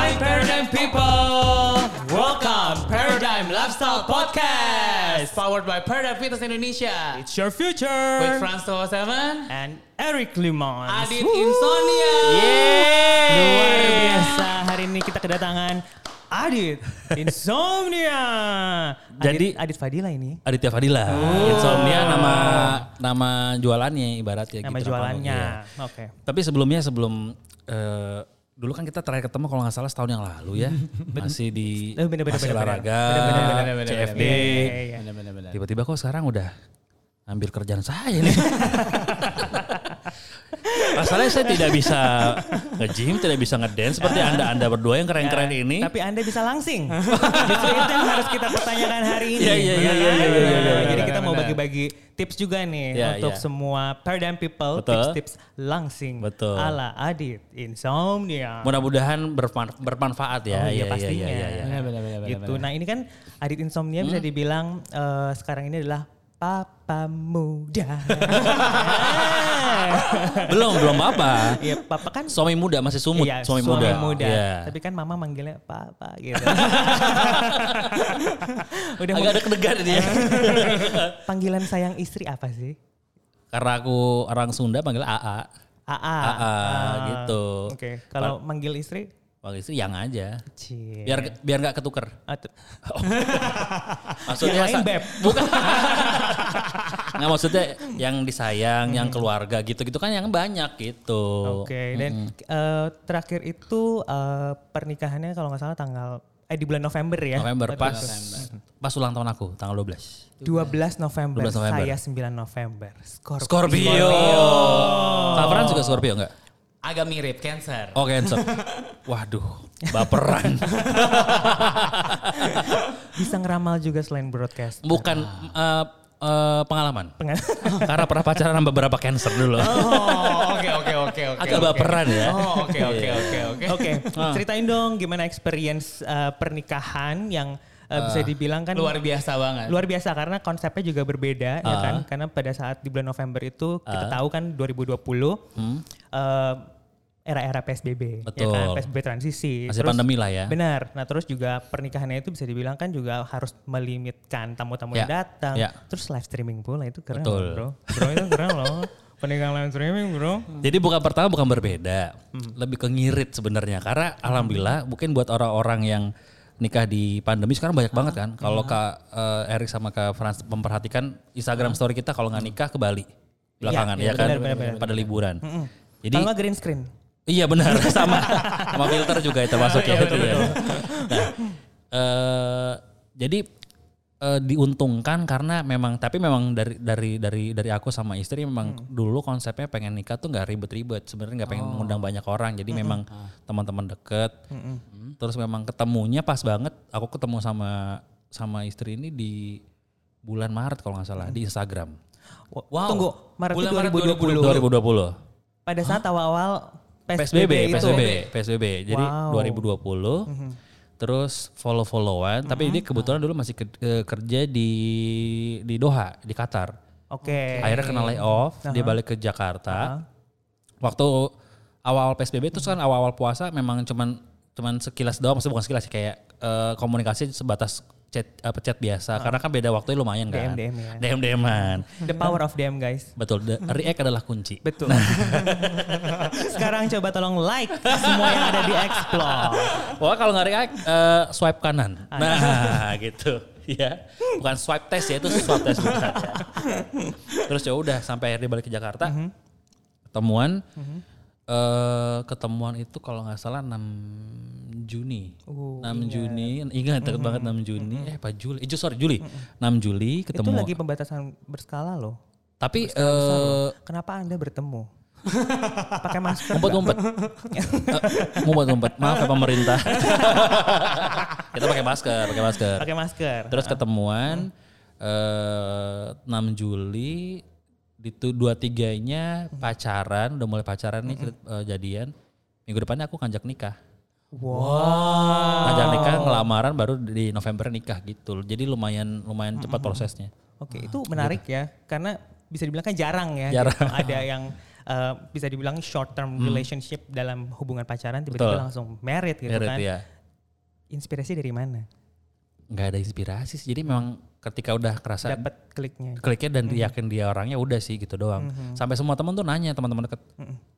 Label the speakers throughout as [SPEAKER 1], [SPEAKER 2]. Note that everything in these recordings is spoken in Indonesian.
[SPEAKER 1] and people, welcome Paradigm Lifestyle Podcast, powered by Paradigm Fitness Indonesia.
[SPEAKER 2] It's your future.
[SPEAKER 1] With Franco Seven,
[SPEAKER 2] and Eric Lumon.
[SPEAKER 1] Adit Insomnia.
[SPEAKER 2] Yeay. Luar
[SPEAKER 1] Yeay.
[SPEAKER 2] biasa. Hari ini kita kedatangan Adit Insomnia. Adit-
[SPEAKER 3] Jadi-
[SPEAKER 2] Adit Fadila ini
[SPEAKER 3] Aditya Fadila.
[SPEAKER 2] Oh.
[SPEAKER 3] Insomnia nama nama jualannya ibaratnya
[SPEAKER 2] nama
[SPEAKER 3] gitu.
[SPEAKER 2] jualannya.
[SPEAKER 3] Iya.
[SPEAKER 2] Oke.
[SPEAKER 3] Tapi sebelumnya sebelum eh, dulu kan kita terakhir ketemu kalau nggak salah setahun yang lalu ya. masih di
[SPEAKER 2] Eh, bener, bener,
[SPEAKER 3] masih
[SPEAKER 2] bener,
[SPEAKER 3] olahraga,
[SPEAKER 1] bener,
[SPEAKER 3] CFD.
[SPEAKER 2] Iya, iya, iya.
[SPEAKER 1] Benar-benar.
[SPEAKER 3] Tiba-tiba kok sekarang udah ambil kerjaan saya nih. Masalahnya saya tidak bisa nge-gym, tidak bisa ngedance seperti anda-anda berdua yang keren-keren ini.
[SPEAKER 2] Iya. Tapi Anda bisa langsing. Justru itu yang harus kita pertanyakan hari ini.
[SPEAKER 3] Iya, iya, iya,
[SPEAKER 2] Benar
[SPEAKER 3] iya,
[SPEAKER 2] kan?
[SPEAKER 3] iya, iya, iya,
[SPEAKER 2] Nah,
[SPEAKER 3] iya,
[SPEAKER 2] Jadi
[SPEAKER 1] iya,
[SPEAKER 2] kita mau
[SPEAKER 1] benar.
[SPEAKER 2] bagi-bagi tips juga nih
[SPEAKER 3] Iya,
[SPEAKER 2] untuk
[SPEAKER 3] iya.
[SPEAKER 2] semua paradigm people,
[SPEAKER 3] Betul.
[SPEAKER 2] tips-tips langsing
[SPEAKER 3] Betul.
[SPEAKER 2] ala Adit Insomnia.
[SPEAKER 3] Mudah-mudahan bermanfa- bermanfaat ya.
[SPEAKER 2] Oh, iya,
[SPEAKER 3] Iya, iya,
[SPEAKER 2] pastinya.
[SPEAKER 3] iya, iya.
[SPEAKER 1] Benar, benar, benar,
[SPEAKER 2] gitu.
[SPEAKER 1] benar. Hmm?
[SPEAKER 2] Nah ini kan Adit Insomnia bisa dibilang eh, sekarang ini adalah papa muda.
[SPEAKER 3] Belum, belum apa-apa.
[SPEAKER 2] Iya papa kan
[SPEAKER 3] Suami muda masih sumut,
[SPEAKER 2] iya,
[SPEAKER 3] suami, muda. Iya.
[SPEAKER 2] Tapi kan mama manggilnya papa gitu. Udah
[SPEAKER 3] Agak ada kedegan dia.
[SPEAKER 2] mau- panggilan sayang istri apa sih?
[SPEAKER 3] Karena aku orang Sunda panggil AA.
[SPEAKER 2] AA.
[SPEAKER 3] AA, gitu.
[SPEAKER 2] Ah. Oke, kalau manggil istri
[SPEAKER 3] Panggil istri yang aja.
[SPEAKER 2] Cie.
[SPEAKER 3] Biar biar nggak ketuker.
[SPEAKER 2] Atau-
[SPEAKER 3] Maksudnya
[SPEAKER 2] Yang lain,
[SPEAKER 3] sa-
[SPEAKER 2] Beb.
[SPEAKER 3] bukan. nggak maksudnya yang disayang, yang keluarga gitu-gitu kan yang banyak gitu.
[SPEAKER 2] Oke, dan eh, terakhir itu eh, pernikahannya kalau nggak salah tanggal eh di bulan November ya.
[SPEAKER 3] November pas pas ulang tahun aku tanggal 12.
[SPEAKER 2] 12 November,
[SPEAKER 3] 12 November.
[SPEAKER 2] saya 9 November. Skor.
[SPEAKER 3] Scorpio. Kabaran juga Scorpio enggak?
[SPEAKER 1] Agak mirip Cancer.
[SPEAKER 3] Oh Cancer. Waduh, baperan.
[SPEAKER 2] Bisa ngeramal juga selain broadcast.
[SPEAKER 3] Bukan
[SPEAKER 1] Ah.
[SPEAKER 3] eh, eh, pengalaman.
[SPEAKER 2] Pengen-
[SPEAKER 3] Karena pernah pacaran sama beberapa cancer dulu.
[SPEAKER 1] Oh, oke oke oke oke.
[SPEAKER 3] Agak
[SPEAKER 1] oke.
[SPEAKER 3] baperan ya.
[SPEAKER 1] Oh, oke oke oke oke.
[SPEAKER 2] Oke, ceritain dong gimana experience eh, pernikahan yang eh, bisa dibilang kan
[SPEAKER 1] Luar biasa banget.
[SPEAKER 2] luar biasa karena konsepnya juga berbeda ya kan karena pada saat di bulan November itu kita tahu kan 2020 eh, era-era PSBB ya
[SPEAKER 3] Betul.
[SPEAKER 2] kan PSBB transisi
[SPEAKER 3] Masih pandemi lah ya.
[SPEAKER 2] benar nah terus juga pernikahannya itu bisa dibilang kan juga harus melimitkan tamu-tamu yang
[SPEAKER 3] Ya,
[SPEAKER 2] datang
[SPEAKER 3] ya.
[SPEAKER 2] terus live streaming pula itu keren
[SPEAKER 3] Betul.
[SPEAKER 2] loh, bro bro itu keren loh pernikahan live streaming bro
[SPEAKER 3] Jadi bukan pertama bukan berbeda,
[SPEAKER 1] Hmm.
[SPEAKER 3] lebih ke ngirit sebenarnya. Karena alhamdulillah mungkin buat orang-orang yang nikah di pandemi sekarang banyak banget kan. Kalau
[SPEAKER 1] Hmm.
[SPEAKER 3] Kak eh, Erik sama Kak Frans memperhatikan
[SPEAKER 1] Hmm.
[SPEAKER 3] Instagram story kita kalau nggak nikah ke Bali belakangan
[SPEAKER 2] iya,
[SPEAKER 3] ya, kan
[SPEAKER 2] benar, benar, benar.
[SPEAKER 3] pada liburan.
[SPEAKER 1] Hmm,
[SPEAKER 3] Jadi
[SPEAKER 2] kalau nggak green screen
[SPEAKER 3] Iya benar sama sama filter juga itu
[SPEAKER 1] Iya,
[SPEAKER 3] masuknya itu ya. Nah, eh, jadi eh, diuntungkan karena memang tapi memang dari dari dari dari aku sama istri
[SPEAKER 1] Hmm.
[SPEAKER 3] memang dulu konsepnya pengen nikah tuh nggak ribet-ribet sebenarnya nggak pengen
[SPEAKER 1] Oh.
[SPEAKER 3] mengundang banyak orang
[SPEAKER 1] Hmm,
[SPEAKER 3] jadi memang
[SPEAKER 1] Ah.
[SPEAKER 3] teman-teman deket terus memang ketemunya pas banget aku ketemu sama sama istri ini di bulan Maret kalau nggak salah di Instagram
[SPEAKER 1] Wow.
[SPEAKER 2] tunggu Maret
[SPEAKER 1] Hmm. Bulan
[SPEAKER 2] itu
[SPEAKER 1] Maret
[SPEAKER 2] 2020,
[SPEAKER 3] 2020
[SPEAKER 2] pada saat awal-awal PSBB,
[SPEAKER 3] PSBB,
[SPEAKER 2] itu
[SPEAKER 3] PSBB, PSBB. Jadi
[SPEAKER 2] Wow. Mhm.
[SPEAKER 3] 2020 terus follow-followan, tapi ini kebetulan dulu masih ke- eh, kerja di di Doha, di Qatar.
[SPEAKER 2] oke Uh-huh.
[SPEAKER 3] Akhirnya kena layoff, dia balik ke Jakarta. Waktu awal-awal PSBB terus kan awal-awal puasa memang cuman cuman sekilas doang, maksudnya bukan sekilas sih kayak eh, komunikasi sebatas chat apa chat
[SPEAKER 2] Uh-huh.
[SPEAKER 3] biasa karena kan beda waktunya lumayan kan.
[SPEAKER 2] DM-DM ya.
[SPEAKER 3] DM-DM-an.
[SPEAKER 2] The power of them guys.
[SPEAKER 3] Betul, the- react adalah kunci.
[SPEAKER 2] Betul. Sekarang coba tolong like semua yang ada di explore.
[SPEAKER 3] Wah kalau nggak react eh, swipe kanan.
[SPEAKER 2] Ah.
[SPEAKER 3] Nah gitu ya. Bukan swipe test ya itu swipe test bukan. ya. Terus ya udah sampai akhirnya balik ke Jakarta.
[SPEAKER 2] Mhm.
[SPEAKER 3] Ketemuan eh, ketemuan itu kalau nggak salah 6 Juni.
[SPEAKER 2] Oh, iya.
[SPEAKER 3] 6 Juni, ingat
[SPEAKER 2] Mhm.
[SPEAKER 3] deket banget 6 Juni. Eh Pak Juli, eh, ju- sorry Juli. 6 Juli
[SPEAKER 2] Itu
[SPEAKER 3] ketemu.
[SPEAKER 2] lagi pembatasan berskala loh.
[SPEAKER 3] Tapi eh
[SPEAKER 2] Kenapa Anda bertemu? Pakai masker. nggak?
[SPEAKER 3] ngumpet-ngumpet. Eh, ngumpet-ngumpet. Maaf ya pemerintah. Kita pakai masker, pakai masker.
[SPEAKER 2] Pakai masker.
[SPEAKER 3] Terus
[SPEAKER 2] Hmm.
[SPEAKER 3] ketemuan eh 6 Juli di tu- dua tiganya
[SPEAKER 2] Hmm.
[SPEAKER 3] pacaran, udah mulai pacaran nih eh, jadian. Minggu depannya aku ngajak nikah.
[SPEAKER 2] Wow.
[SPEAKER 3] Ngajak nikah, ngelamaran baru di November nikah gitu. Jadi lumayan lumayan cepat prosesnya.
[SPEAKER 2] Oke, itu menarik ya karena bisa dibilang kan jarang ya.
[SPEAKER 3] Jarang.
[SPEAKER 2] gitu. Ada yang eh, bisa dibilang short term relationship dalam hubungan pacaran tiba-tiba
[SPEAKER 3] Betul.
[SPEAKER 2] langsung married gitu
[SPEAKER 3] Married,
[SPEAKER 2] kan.
[SPEAKER 3] iya.
[SPEAKER 2] inspirasi dari mana?
[SPEAKER 3] nggak ada inspirasi sih. Jadi memang ketika udah kerasa
[SPEAKER 2] Dapat kliknya.
[SPEAKER 3] kliknya dan yakin dia orangnya udah sih gitu doang. Sampai semua teman tuh nanya teman-teman deket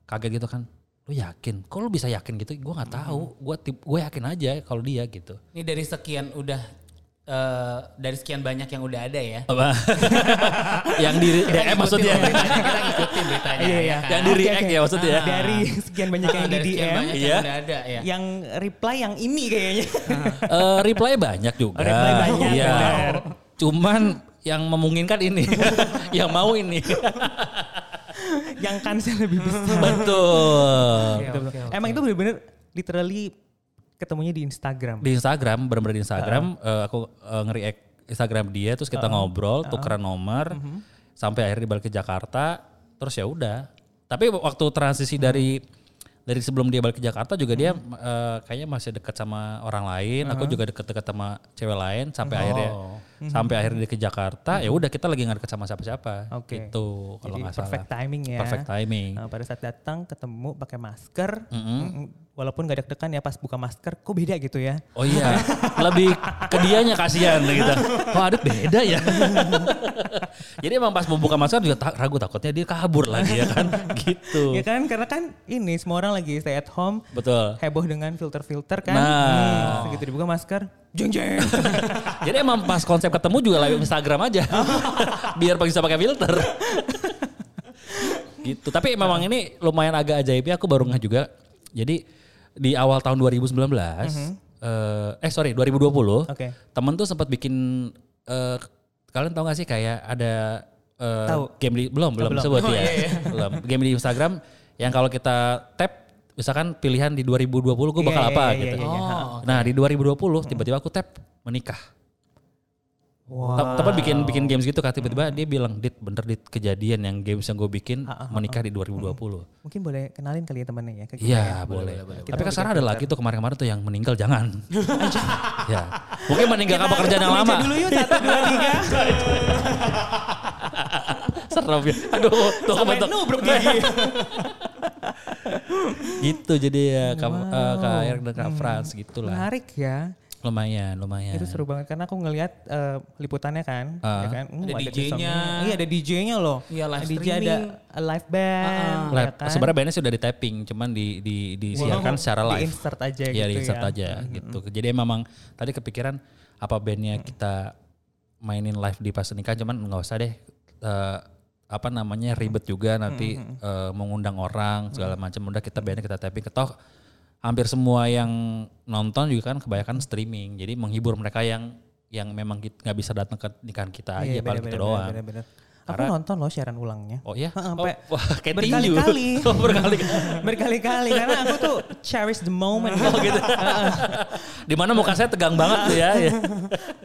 [SPEAKER 3] kaget gitu kan. Lu yakin? Kok lu bisa yakin gitu? Gua nggak tahu. Gua tip- gua yakin aja kalau dia gitu.
[SPEAKER 1] Ini dari sekian udah eh, dari sekian banyak yang udah ada ya.
[SPEAKER 3] Apa? yang
[SPEAKER 1] Kita
[SPEAKER 3] di DM
[SPEAKER 1] ngikutin
[SPEAKER 3] Eh, maksudnya.
[SPEAKER 1] beritanya, Kita ngikutin beritanya.
[SPEAKER 2] Iya,
[SPEAKER 1] ya
[SPEAKER 2] iya.
[SPEAKER 1] kan?
[SPEAKER 3] yang di react ya maksudnya. ya.
[SPEAKER 2] Dari sekian banyak yang di
[SPEAKER 1] dari sekian
[SPEAKER 2] DM,
[SPEAKER 1] banyak
[SPEAKER 3] Iya.
[SPEAKER 1] yang udah ada ya.
[SPEAKER 2] yang reply yang ini kayaknya.
[SPEAKER 3] Eh, reply banyak juga.
[SPEAKER 2] Oh, reply banyak,
[SPEAKER 3] Iya.
[SPEAKER 2] benar.
[SPEAKER 3] Cuman yang memungkinkan ini, yang mau ini.
[SPEAKER 2] yang kansnya lebih besar.
[SPEAKER 3] Betul.
[SPEAKER 1] Oke,
[SPEAKER 2] Betul,
[SPEAKER 1] oke,
[SPEAKER 2] betul.
[SPEAKER 1] oke.
[SPEAKER 2] Emang itu bener-bener literally ketemunya di Instagram.
[SPEAKER 3] Di Instagram, benar-benar di Instagram eh, aku eh, nge-react Instagram dia terus kita ngobrol, tukeran nomor
[SPEAKER 2] Mhm.
[SPEAKER 3] sampai akhirnya balik ke Jakarta, terus ya udah. Tapi waktu
[SPEAKER 2] Mhm.
[SPEAKER 3] transisi dari dari sebelum dia balik ke Jakarta juga dia eh, kayaknya masih dekat sama orang lain, aku juga deket-deket sama cewek lain sampai
[SPEAKER 2] Oh.
[SPEAKER 3] akhirnya
[SPEAKER 2] Mhm.
[SPEAKER 3] sampai akhirnya dia ke Jakarta, ya udah kita lagi nggak deket sama siapa-siapa.
[SPEAKER 2] Oke.
[SPEAKER 3] Gitu kalau
[SPEAKER 2] Jadi
[SPEAKER 3] nggak salah.
[SPEAKER 2] perfect timing ya.
[SPEAKER 3] Perfect timing.
[SPEAKER 2] Nah, pada saat datang ketemu pakai masker, Mm-mm. walaupun gak deg-degan ya pas buka masker, kok beda gitu ya?
[SPEAKER 3] Oh iya, lebih ke dianya kasihan gitu. Kok ada beda ya? Jadi emang pas membuka masker juga ta- ragu takutnya dia kabur lagi ya kan gitu.
[SPEAKER 2] Ya kan karena kan ini semua orang lagi stay at home,
[SPEAKER 3] Betul.
[SPEAKER 2] heboh dengan filter-filter kan.
[SPEAKER 3] Nah.
[SPEAKER 2] Hmm, begitu dibuka masker, jeng jeng.
[SPEAKER 3] Jadi emang pas konsep ketemu juga live Instagram aja. Biar bisa pakai filter. gitu. Tapi memang ini lumayan agak ajaibnya aku baru ngeh juga. Jadi di awal tahun 2019 eh, eh sorry 2020
[SPEAKER 2] Oke.
[SPEAKER 3] temen tuh sempat bikin eh, kalian tahu gak sih kayak ada eh,
[SPEAKER 2] Tahu.
[SPEAKER 3] game di belum belum, sebut ya belum game di Instagram yang kalau kita tap misalkan pilihan di 2020 gue bakal
[SPEAKER 2] Iya,
[SPEAKER 3] apa
[SPEAKER 2] iya,
[SPEAKER 3] gitu
[SPEAKER 2] iya, iya, iya.
[SPEAKER 1] Oh,
[SPEAKER 3] nah di 2020 tiba-tiba aku tap menikah
[SPEAKER 2] Wah.
[SPEAKER 3] Tem- Teman bikin bikin games gitu kan tiba-tiba dia bilang dit bener dit kejadian yang games yang gue bikin menikah di 2020
[SPEAKER 2] Mungkin boleh kenalin kali ya temennya ya. ke kita ya.
[SPEAKER 3] Iya boleh. Tapi kan sekarang ada lagi tuh kemarin-kemarin tuh yang meninggal jangan. ya. Mungkin meninggal apa kerjaan yang lama.
[SPEAKER 2] Dulu yuk satu dua tiga.
[SPEAKER 3] Serem ya. Aduh, tuh
[SPEAKER 2] Sampai
[SPEAKER 3] kebentuk.
[SPEAKER 2] nubruk gigi.
[SPEAKER 3] Gitu jadi ya Kak eh, Kak Erik dan
[SPEAKER 2] Hmm.
[SPEAKER 3] Kak Frans gitu lah. Iya.
[SPEAKER 2] Menarik ya.
[SPEAKER 3] Lumayan, lumayan.
[SPEAKER 2] Itu seru banget karena aku ngelihat eh, liputannya kan,
[SPEAKER 3] Ah.
[SPEAKER 2] ya kan? Hmm,
[SPEAKER 1] Ada
[SPEAKER 2] di
[SPEAKER 1] DJ-nya.
[SPEAKER 2] songnya. Iya, ada DJ-nya loh.
[SPEAKER 1] Iya, live
[SPEAKER 2] DJ ada
[SPEAKER 1] streaming.
[SPEAKER 2] eh, live band, ya
[SPEAKER 3] Ah, Live-
[SPEAKER 2] kan?
[SPEAKER 3] Sebenarnya bandnya sudah di tapping, cuman di di disiarkan secara
[SPEAKER 2] di
[SPEAKER 3] live.
[SPEAKER 2] insert aja
[SPEAKER 3] Iya
[SPEAKER 2] gitu
[SPEAKER 3] di insert
[SPEAKER 2] ya.
[SPEAKER 3] aja gitu. Jadi memang tadi kepikiran apa bandnya kita mainin live di pas nikah, cuman nggak usah deh eh, apa namanya ribet juga nanti eh, mengundang orang segala macam. Udah kita bandnya kita tapping ketoh hampir semua yang nonton juga kan kebanyakan streaming. Jadi menghibur mereka yang yang memang kit- nggak bisa datang ke nikahan kita
[SPEAKER 2] Iya,
[SPEAKER 3] aja paling
[SPEAKER 2] bener-bener,
[SPEAKER 3] gitu doang.
[SPEAKER 2] bener-bener. Aku nonton loh siaran ulangnya.
[SPEAKER 3] Oh iya?
[SPEAKER 2] Ha,
[SPEAKER 3] Oh,
[SPEAKER 2] sampai
[SPEAKER 3] wah, kayak tinju.
[SPEAKER 2] berkali-kali.
[SPEAKER 3] Oh, berkali-kali.
[SPEAKER 2] berkali-kali karena aku tuh cherish the moment.
[SPEAKER 3] Oh,
[SPEAKER 2] gitu.
[SPEAKER 3] Dimana muka saya tegang banget tuh ya. ya.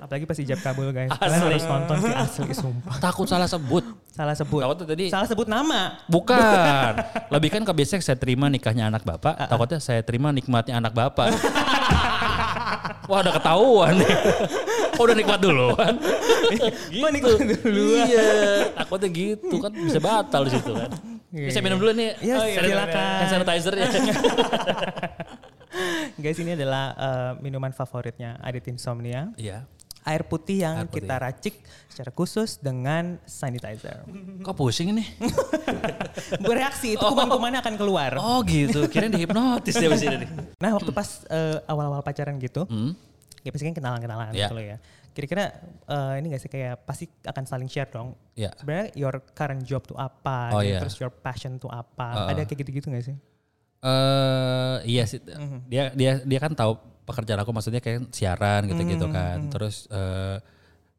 [SPEAKER 2] Apalagi pas ijab kabul guys. Kalian harus nonton sih asli sumpah.
[SPEAKER 3] Takut salah sebut.
[SPEAKER 2] Salah sebut.
[SPEAKER 3] Takut tuh tadi
[SPEAKER 2] Salah sebut nama.
[SPEAKER 3] Bukan. Lebih kan kebiasaan saya terima nikahnya anak bapak, takutnya saya terima nikmatnya anak bapak. Wah udah ketahuan nih. Oh, udah nikmat duluan.
[SPEAKER 2] Kok nikmat duluan?
[SPEAKER 3] Gitu. Iya, takutnya gitu kan bisa batal di situ kan.
[SPEAKER 2] Iya,
[SPEAKER 3] Bisa
[SPEAKER 2] iya.
[SPEAKER 3] minum dulu nih. Oh,
[SPEAKER 2] Yes, silakan.
[SPEAKER 3] Hand sanitizer ya.
[SPEAKER 2] Guys, ini adalah eh, minuman favoritnya Adit Insomnia.
[SPEAKER 3] Iya.
[SPEAKER 2] Air putih yang
[SPEAKER 3] Air putih.
[SPEAKER 2] kita racik secara khusus dengan sanitizer.
[SPEAKER 3] Kok pusing ini?
[SPEAKER 2] Bereaksi, itu kuman-kumannya akan keluar.
[SPEAKER 3] Oh gitu, kirain dihipnotis dia bisa ini.
[SPEAKER 2] Nah, waktu
[SPEAKER 3] Hmm.
[SPEAKER 2] pas eh, awal-awal pacaran gitu, ya pasti kan kenalan-kenalan
[SPEAKER 3] Ya.
[SPEAKER 2] gitu loh ya. Kira-kira eh, ini gak sih kayak pasti akan saling share dong.
[SPEAKER 3] Ya.
[SPEAKER 2] Sebenarnya your current job tuh apa,
[SPEAKER 3] Oh,
[SPEAKER 2] dan
[SPEAKER 3] iya.
[SPEAKER 2] terus your passion tuh apa. Ada kayak gitu-gitu gak sih?
[SPEAKER 3] eh iya sih. Dia dia dia kan tahu pekerjaan aku maksudnya kayak siaran gitu-gitu kan. Terus eh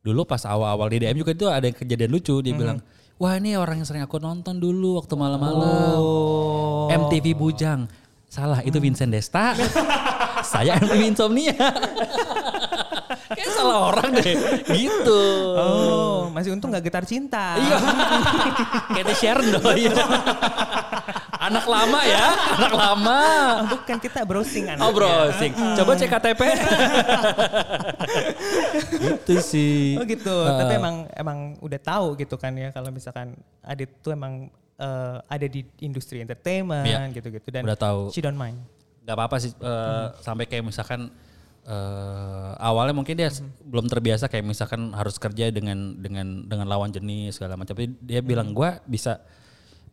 [SPEAKER 3] dulu pas awal-awal di DM juga itu ada kejadian lucu dia bilang, "Wah, ini orang yang sering aku nonton dulu waktu malam-malam." MTV Bujang. Salah, itu Vincent Desta. Saya MTV Insomnia. kayak salah orang deh. Gitu.
[SPEAKER 2] Oh, masih untung gak getar cinta.
[SPEAKER 3] Iya. Kayak Sharon dong. iya. Anak lama ya, anak lama.
[SPEAKER 2] Bukan kita browsing anak.
[SPEAKER 3] Oh browsing. Coba cek KTP. gitu sih.
[SPEAKER 2] Oh gitu. Tapi emang emang udah tahu gitu kan ya kalau misalkan Adit tuh emang eh, ada di industri entertainment
[SPEAKER 3] Iya.
[SPEAKER 2] gitu-gitu dan
[SPEAKER 3] Udah tahu.
[SPEAKER 2] she don't mind.
[SPEAKER 3] Gak apa-apa sih eh, sampai kayak misalkan eh, awalnya mungkin dia s- belum terbiasa kayak misalkan harus kerja dengan dengan dengan lawan jenis segala macam. Tapi dia bilang gua bisa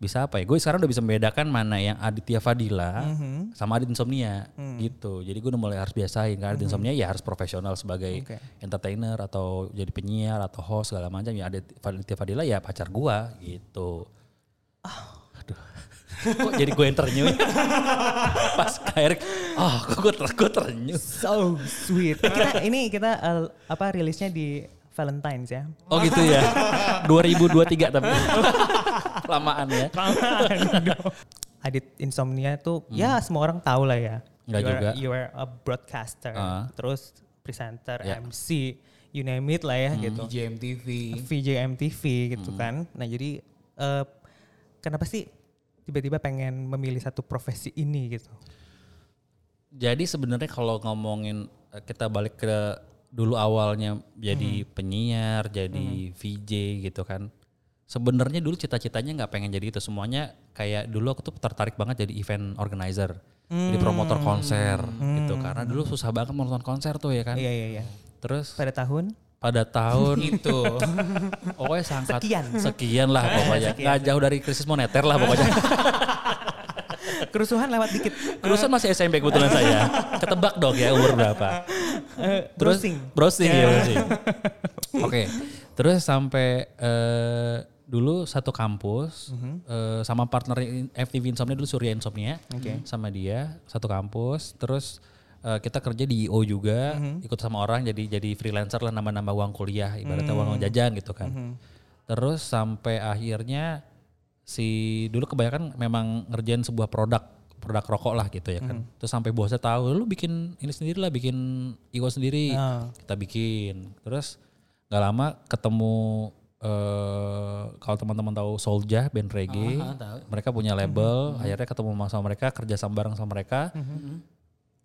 [SPEAKER 3] bisa apa ya? Gue sekarang udah bisa membedakan mana yang Aditya Fadila sama Adit Insomnia gitu. Jadi gue udah mulai harus biasain karena Adit Insomnia ya harus profesional sebagai
[SPEAKER 2] Oke.
[SPEAKER 3] entertainer atau jadi penyiar atau host segala macam. Ya Adit Aditya Fadila ya pacar gua gitu. Aduh. Kok jadi gue yang ternyuh? ya? Pas kayak oh kok gue ter, gue ternyuh.
[SPEAKER 2] So sweet. kita ini kita eh, apa rilisnya di Valentine's ya.
[SPEAKER 3] Oh gitu ya. 2023 tapi. Lamaan ya.
[SPEAKER 2] Adit insomnia tuh ya semua orang tahu lah ya.
[SPEAKER 3] Hmm. Nggak
[SPEAKER 2] you are,
[SPEAKER 3] juga.
[SPEAKER 2] You are a broadcaster,
[SPEAKER 3] Ah.
[SPEAKER 2] terus presenter,
[SPEAKER 3] Ya. Hmm.
[SPEAKER 2] MC, you name it lah ya gitu.
[SPEAKER 1] JMTV.
[SPEAKER 2] VJ MTV gitu kan. Nah jadi eh, kenapa sih tiba-tiba pengen memilih satu profesi ini gitu?
[SPEAKER 3] Jadi sebenarnya kalau ngomongin eh, kita balik ke dulu awalnya jadi penyiar, jadi VJ gitu kan. Sebenarnya dulu cita-citanya nggak pengen jadi itu semuanya kayak dulu aku tuh tertarik banget jadi event organizer, jadi promotor konser gitu karena dulu susah banget menonton konser tuh ya kan.
[SPEAKER 2] Iya iya iya.
[SPEAKER 3] Terus
[SPEAKER 2] Pada tahun
[SPEAKER 3] pada tahun
[SPEAKER 1] Itu.
[SPEAKER 3] Pokoknya sangat
[SPEAKER 2] Sekian.
[SPEAKER 3] sekian lah pokoknya. Nggak jauh dari krisis moneter lah pokoknya.
[SPEAKER 2] kerusuhan lewat dikit.
[SPEAKER 3] Kelulusan masih SMP kebetulan saya. Ketebak dong ya umur berapa.
[SPEAKER 2] Eh,
[SPEAKER 3] Terus-
[SPEAKER 2] browsing. Iya.
[SPEAKER 3] Browsing ya browsing. Oke. Terus sampai eh, dulu satu kampus
[SPEAKER 2] Mhm.
[SPEAKER 3] eh, sama partner in- FTV Insomnia dulu Surya Insomnia sama dia satu kampus terus eh, kita kerja di IO juga
[SPEAKER 2] Mhm.
[SPEAKER 3] ikut sama orang jadi jadi freelancer lah nambah-nambah uang kuliah
[SPEAKER 2] Mhm.
[SPEAKER 3] ibaratnya uang jajan gitu kan. Terus sampai akhirnya si dulu kebanyakan memang ngerjain sebuah produk produk rokok lah gitu ya kan. Terus sampai bosnya tahu lu bikin ini sendiri lah bikin IO sendiri. Kita bikin. Terus nggak lama ketemu eh kalau teman-teman tahu Soulja band reggae,
[SPEAKER 1] Ah,
[SPEAKER 3] mereka punya label, akhirnya ketemu sama- sama mereka, kerja sama bareng sama mereka.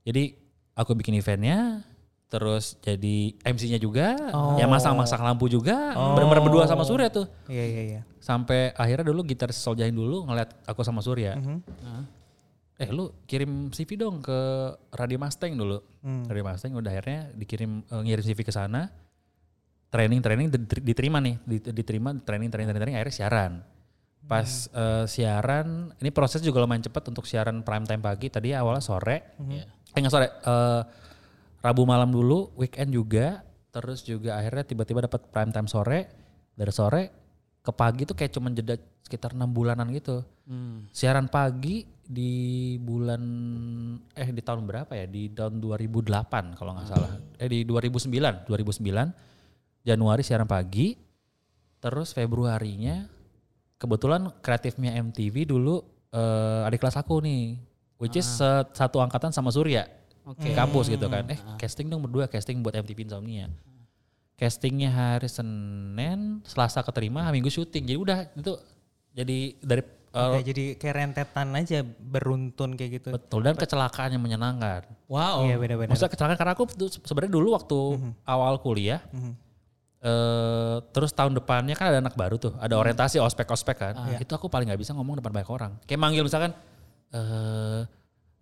[SPEAKER 3] Jadi aku bikin eventnya, terus jadi MC-nya juga, ya masang-masang lampu juga, bener-bener berdua sama Surya tuh
[SPEAKER 2] Iya iya iya.
[SPEAKER 3] sampai akhirnya dulu gitar Soljahin dulu ngeliat aku sama Surya.
[SPEAKER 1] Ah.
[SPEAKER 3] Nah, Eh lu kirim CV dong ke Radio Mustang dulu. Radio Mustang udah akhirnya dikirim eh, ngirim CV ke sana. Training training di- diterima nih, Di- diterima training training training, training akhirnya siaran. Pas eh, siaran, ini proses juga lumayan cepat untuk siaran prime time pagi. Tadi awalnya sore, eh nggak sore, eh, Rabu malam dulu, weekend juga, terus juga akhirnya tiba-tiba dapat prime time sore, dari sore ke pagi tuh kayak cuman jeda sekitar enam bulanan gitu.
[SPEAKER 1] Hmm.
[SPEAKER 3] Siaran pagi di bulan eh di tahun berapa ya? Di tahun 2008 kalau nggak salah. Eh di 2009, 2009 Januari siaran pagi, terus Februarinya kebetulan kreatifnya MTV dulu eh, adik kelas aku nih, which is se- satu angkatan sama Surya di kampus gitu kan. Eh casting dong berdua casting buat MTV Insomnia. Castingnya hari Senin, Selasa keterima, hari Minggu syuting. Jadi udah itu jadi dari uh,
[SPEAKER 2] Kayak jadi kayak rentetan aja beruntun kayak gitu.
[SPEAKER 3] betul dan kecelakaan yang menyenangkan.
[SPEAKER 1] Wow.
[SPEAKER 2] Iya beda-beda.
[SPEAKER 3] Maksudnya kecelakaan karena aku tuh se- sebenarnya dulu waktu
[SPEAKER 2] Mhm.
[SPEAKER 3] awal kuliah eh, terus tahun depannya kan ada anak baru tuh,
[SPEAKER 2] Mhm.
[SPEAKER 3] ada orientasi ospek-ospek kan.
[SPEAKER 2] Ah, iya.
[SPEAKER 3] Itu aku paling nggak bisa ngomong depan banyak orang. Kayak manggil misalkan eh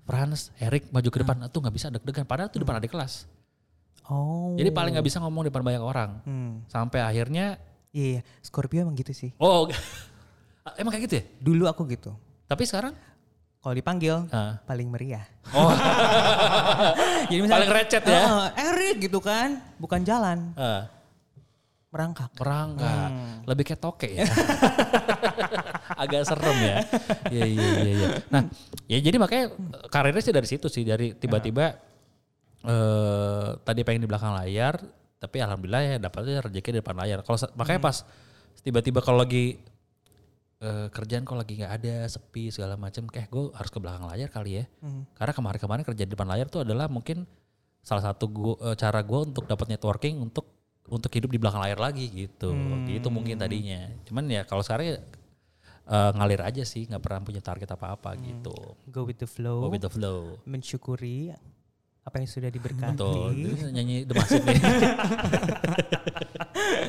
[SPEAKER 3] Frans, Erik maju
[SPEAKER 2] Ah.
[SPEAKER 3] ke depan, itu nggak bisa deg-degan. Padahal itu depan adik kelas.
[SPEAKER 2] Hmm. Oh. Hmm.
[SPEAKER 3] Jadi paling nggak bisa ngomong depan banyak orang. Sampai akhirnya
[SPEAKER 2] Iya, iya. Scorpio emang gitu sih.
[SPEAKER 3] oh emang kayak gitu ya?
[SPEAKER 2] Dulu aku gitu.
[SPEAKER 3] Tapi sekarang
[SPEAKER 2] Kalau dipanggil
[SPEAKER 3] Ah.
[SPEAKER 2] paling meriah.
[SPEAKER 3] oh
[SPEAKER 2] Jadi
[SPEAKER 3] Paling recet ya?
[SPEAKER 2] "Eh, Erik gitu kan, bukan jalan,
[SPEAKER 3] eh,
[SPEAKER 2] merangkak.
[SPEAKER 3] perang nggak? Lebih kayak toke ya. Agak serem ya. Iya iya iya iya. Nah, ya jadi makanya eh, karirnya sih dari situ sih dari tiba-tiba eh tadi pengen di belakang layar tapi alhamdulillah ya dapatnya rezeki di depan layar. Kalau sa- makanya pas tiba-tiba kalau lagi eh, kerjaan kalau lagi nggak ada sepi segala macam kayak gue harus ke belakang layar kali ya karena kemarin-kemarin kerja di depan layar tuh adalah mungkin salah satu gua, eh, cara gue untuk dapat networking untuk untuk hidup di belakang layar lagi gitu
[SPEAKER 2] Hmm.
[SPEAKER 3] gitu mungkin tadinya cuman ya kalau sekarang ya, eh, ngalir aja sih nggak pernah punya target
[SPEAKER 2] Hmm.
[SPEAKER 3] apa-apa gitu
[SPEAKER 2] Go with the flow.
[SPEAKER 3] Go with the flow
[SPEAKER 2] Mensyukuri apa yang sudah diberkati.
[SPEAKER 3] betul Terus nyanyi The Massive nih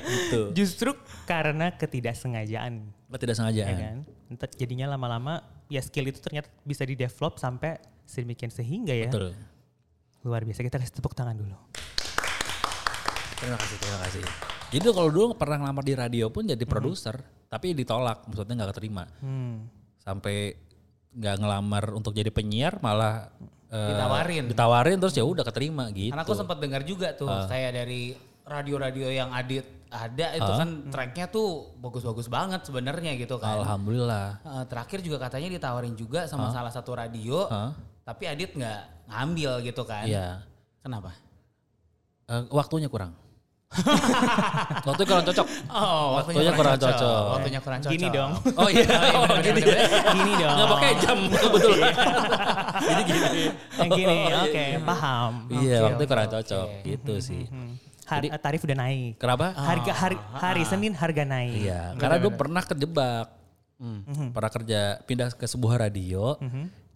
[SPEAKER 3] gitu
[SPEAKER 2] Justru karena ketidaksengajaan,
[SPEAKER 3] tidak sengaja
[SPEAKER 2] ya kan? Ntar jadinya lama-lama ya skill itu ternyata bisa di develop sampai sedemikian sehingga ya.
[SPEAKER 3] betul
[SPEAKER 2] luar biasa. Kita kasih tepuk tangan dulu.
[SPEAKER 3] Terima kasih, terima kasih. Itu kalau dulu pernah ngelamar di radio pun jadi produser, tapi ditolak, maksudnya nggak keterima.
[SPEAKER 2] Hmm.
[SPEAKER 3] Sampai nggak ngelamar untuk jadi penyiar malah eh,
[SPEAKER 1] Ditawarin.
[SPEAKER 3] Ditawarin terus ya udah keterima gitu.
[SPEAKER 1] Karena aku sempat dengar juga tuh
[SPEAKER 3] Ah.
[SPEAKER 1] kayak dari radio-radio yang Adit ada itu
[SPEAKER 3] Ah.
[SPEAKER 1] kan tracknya tuh bagus-bagus banget sebenarnya gitu kan.
[SPEAKER 3] Alhamdulillah.
[SPEAKER 1] Eh, terakhir juga katanya ditawarin juga sama
[SPEAKER 3] Ah.
[SPEAKER 1] salah satu radio,
[SPEAKER 3] Hah?
[SPEAKER 1] tapi Adit nggak ngambil gitu kan.
[SPEAKER 3] Ah. Iya.
[SPEAKER 1] Kenapa?
[SPEAKER 3] Eh, waktunya kurang. Waktu kurang cocok.
[SPEAKER 1] Oh,
[SPEAKER 3] Waktunya kurang cocok.
[SPEAKER 1] Waktunya kurang cocok.
[SPEAKER 2] Gini dong.
[SPEAKER 3] Oh iya.
[SPEAKER 1] Oh,
[SPEAKER 3] gini,
[SPEAKER 1] gini.
[SPEAKER 2] Gini dong.
[SPEAKER 3] Nggak pakai jam kebetulan. Jadi gini.
[SPEAKER 2] Yang gini,
[SPEAKER 3] Oh, iya,
[SPEAKER 2] oke,
[SPEAKER 3] iya.
[SPEAKER 2] paham.
[SPEAKER 3] Iya,
[SPEAKER 2] Oke,
[SPEAKER 3] waktunya
[SPEAKER 2] oke.
[SPEAKER 3] kurang cocok gitu sih.
[SPEAKER 2] Hmm. Ah, Har- tarif udah naik.
[SPEAKER 3] Kenapa?
[SPEAKER 2] Harga hari, hari Senin harga naik.
[SPEAKER 3] Ah. Iya, karena gue pernah kejebak. Pernah kerja pindah ke sebuah radio,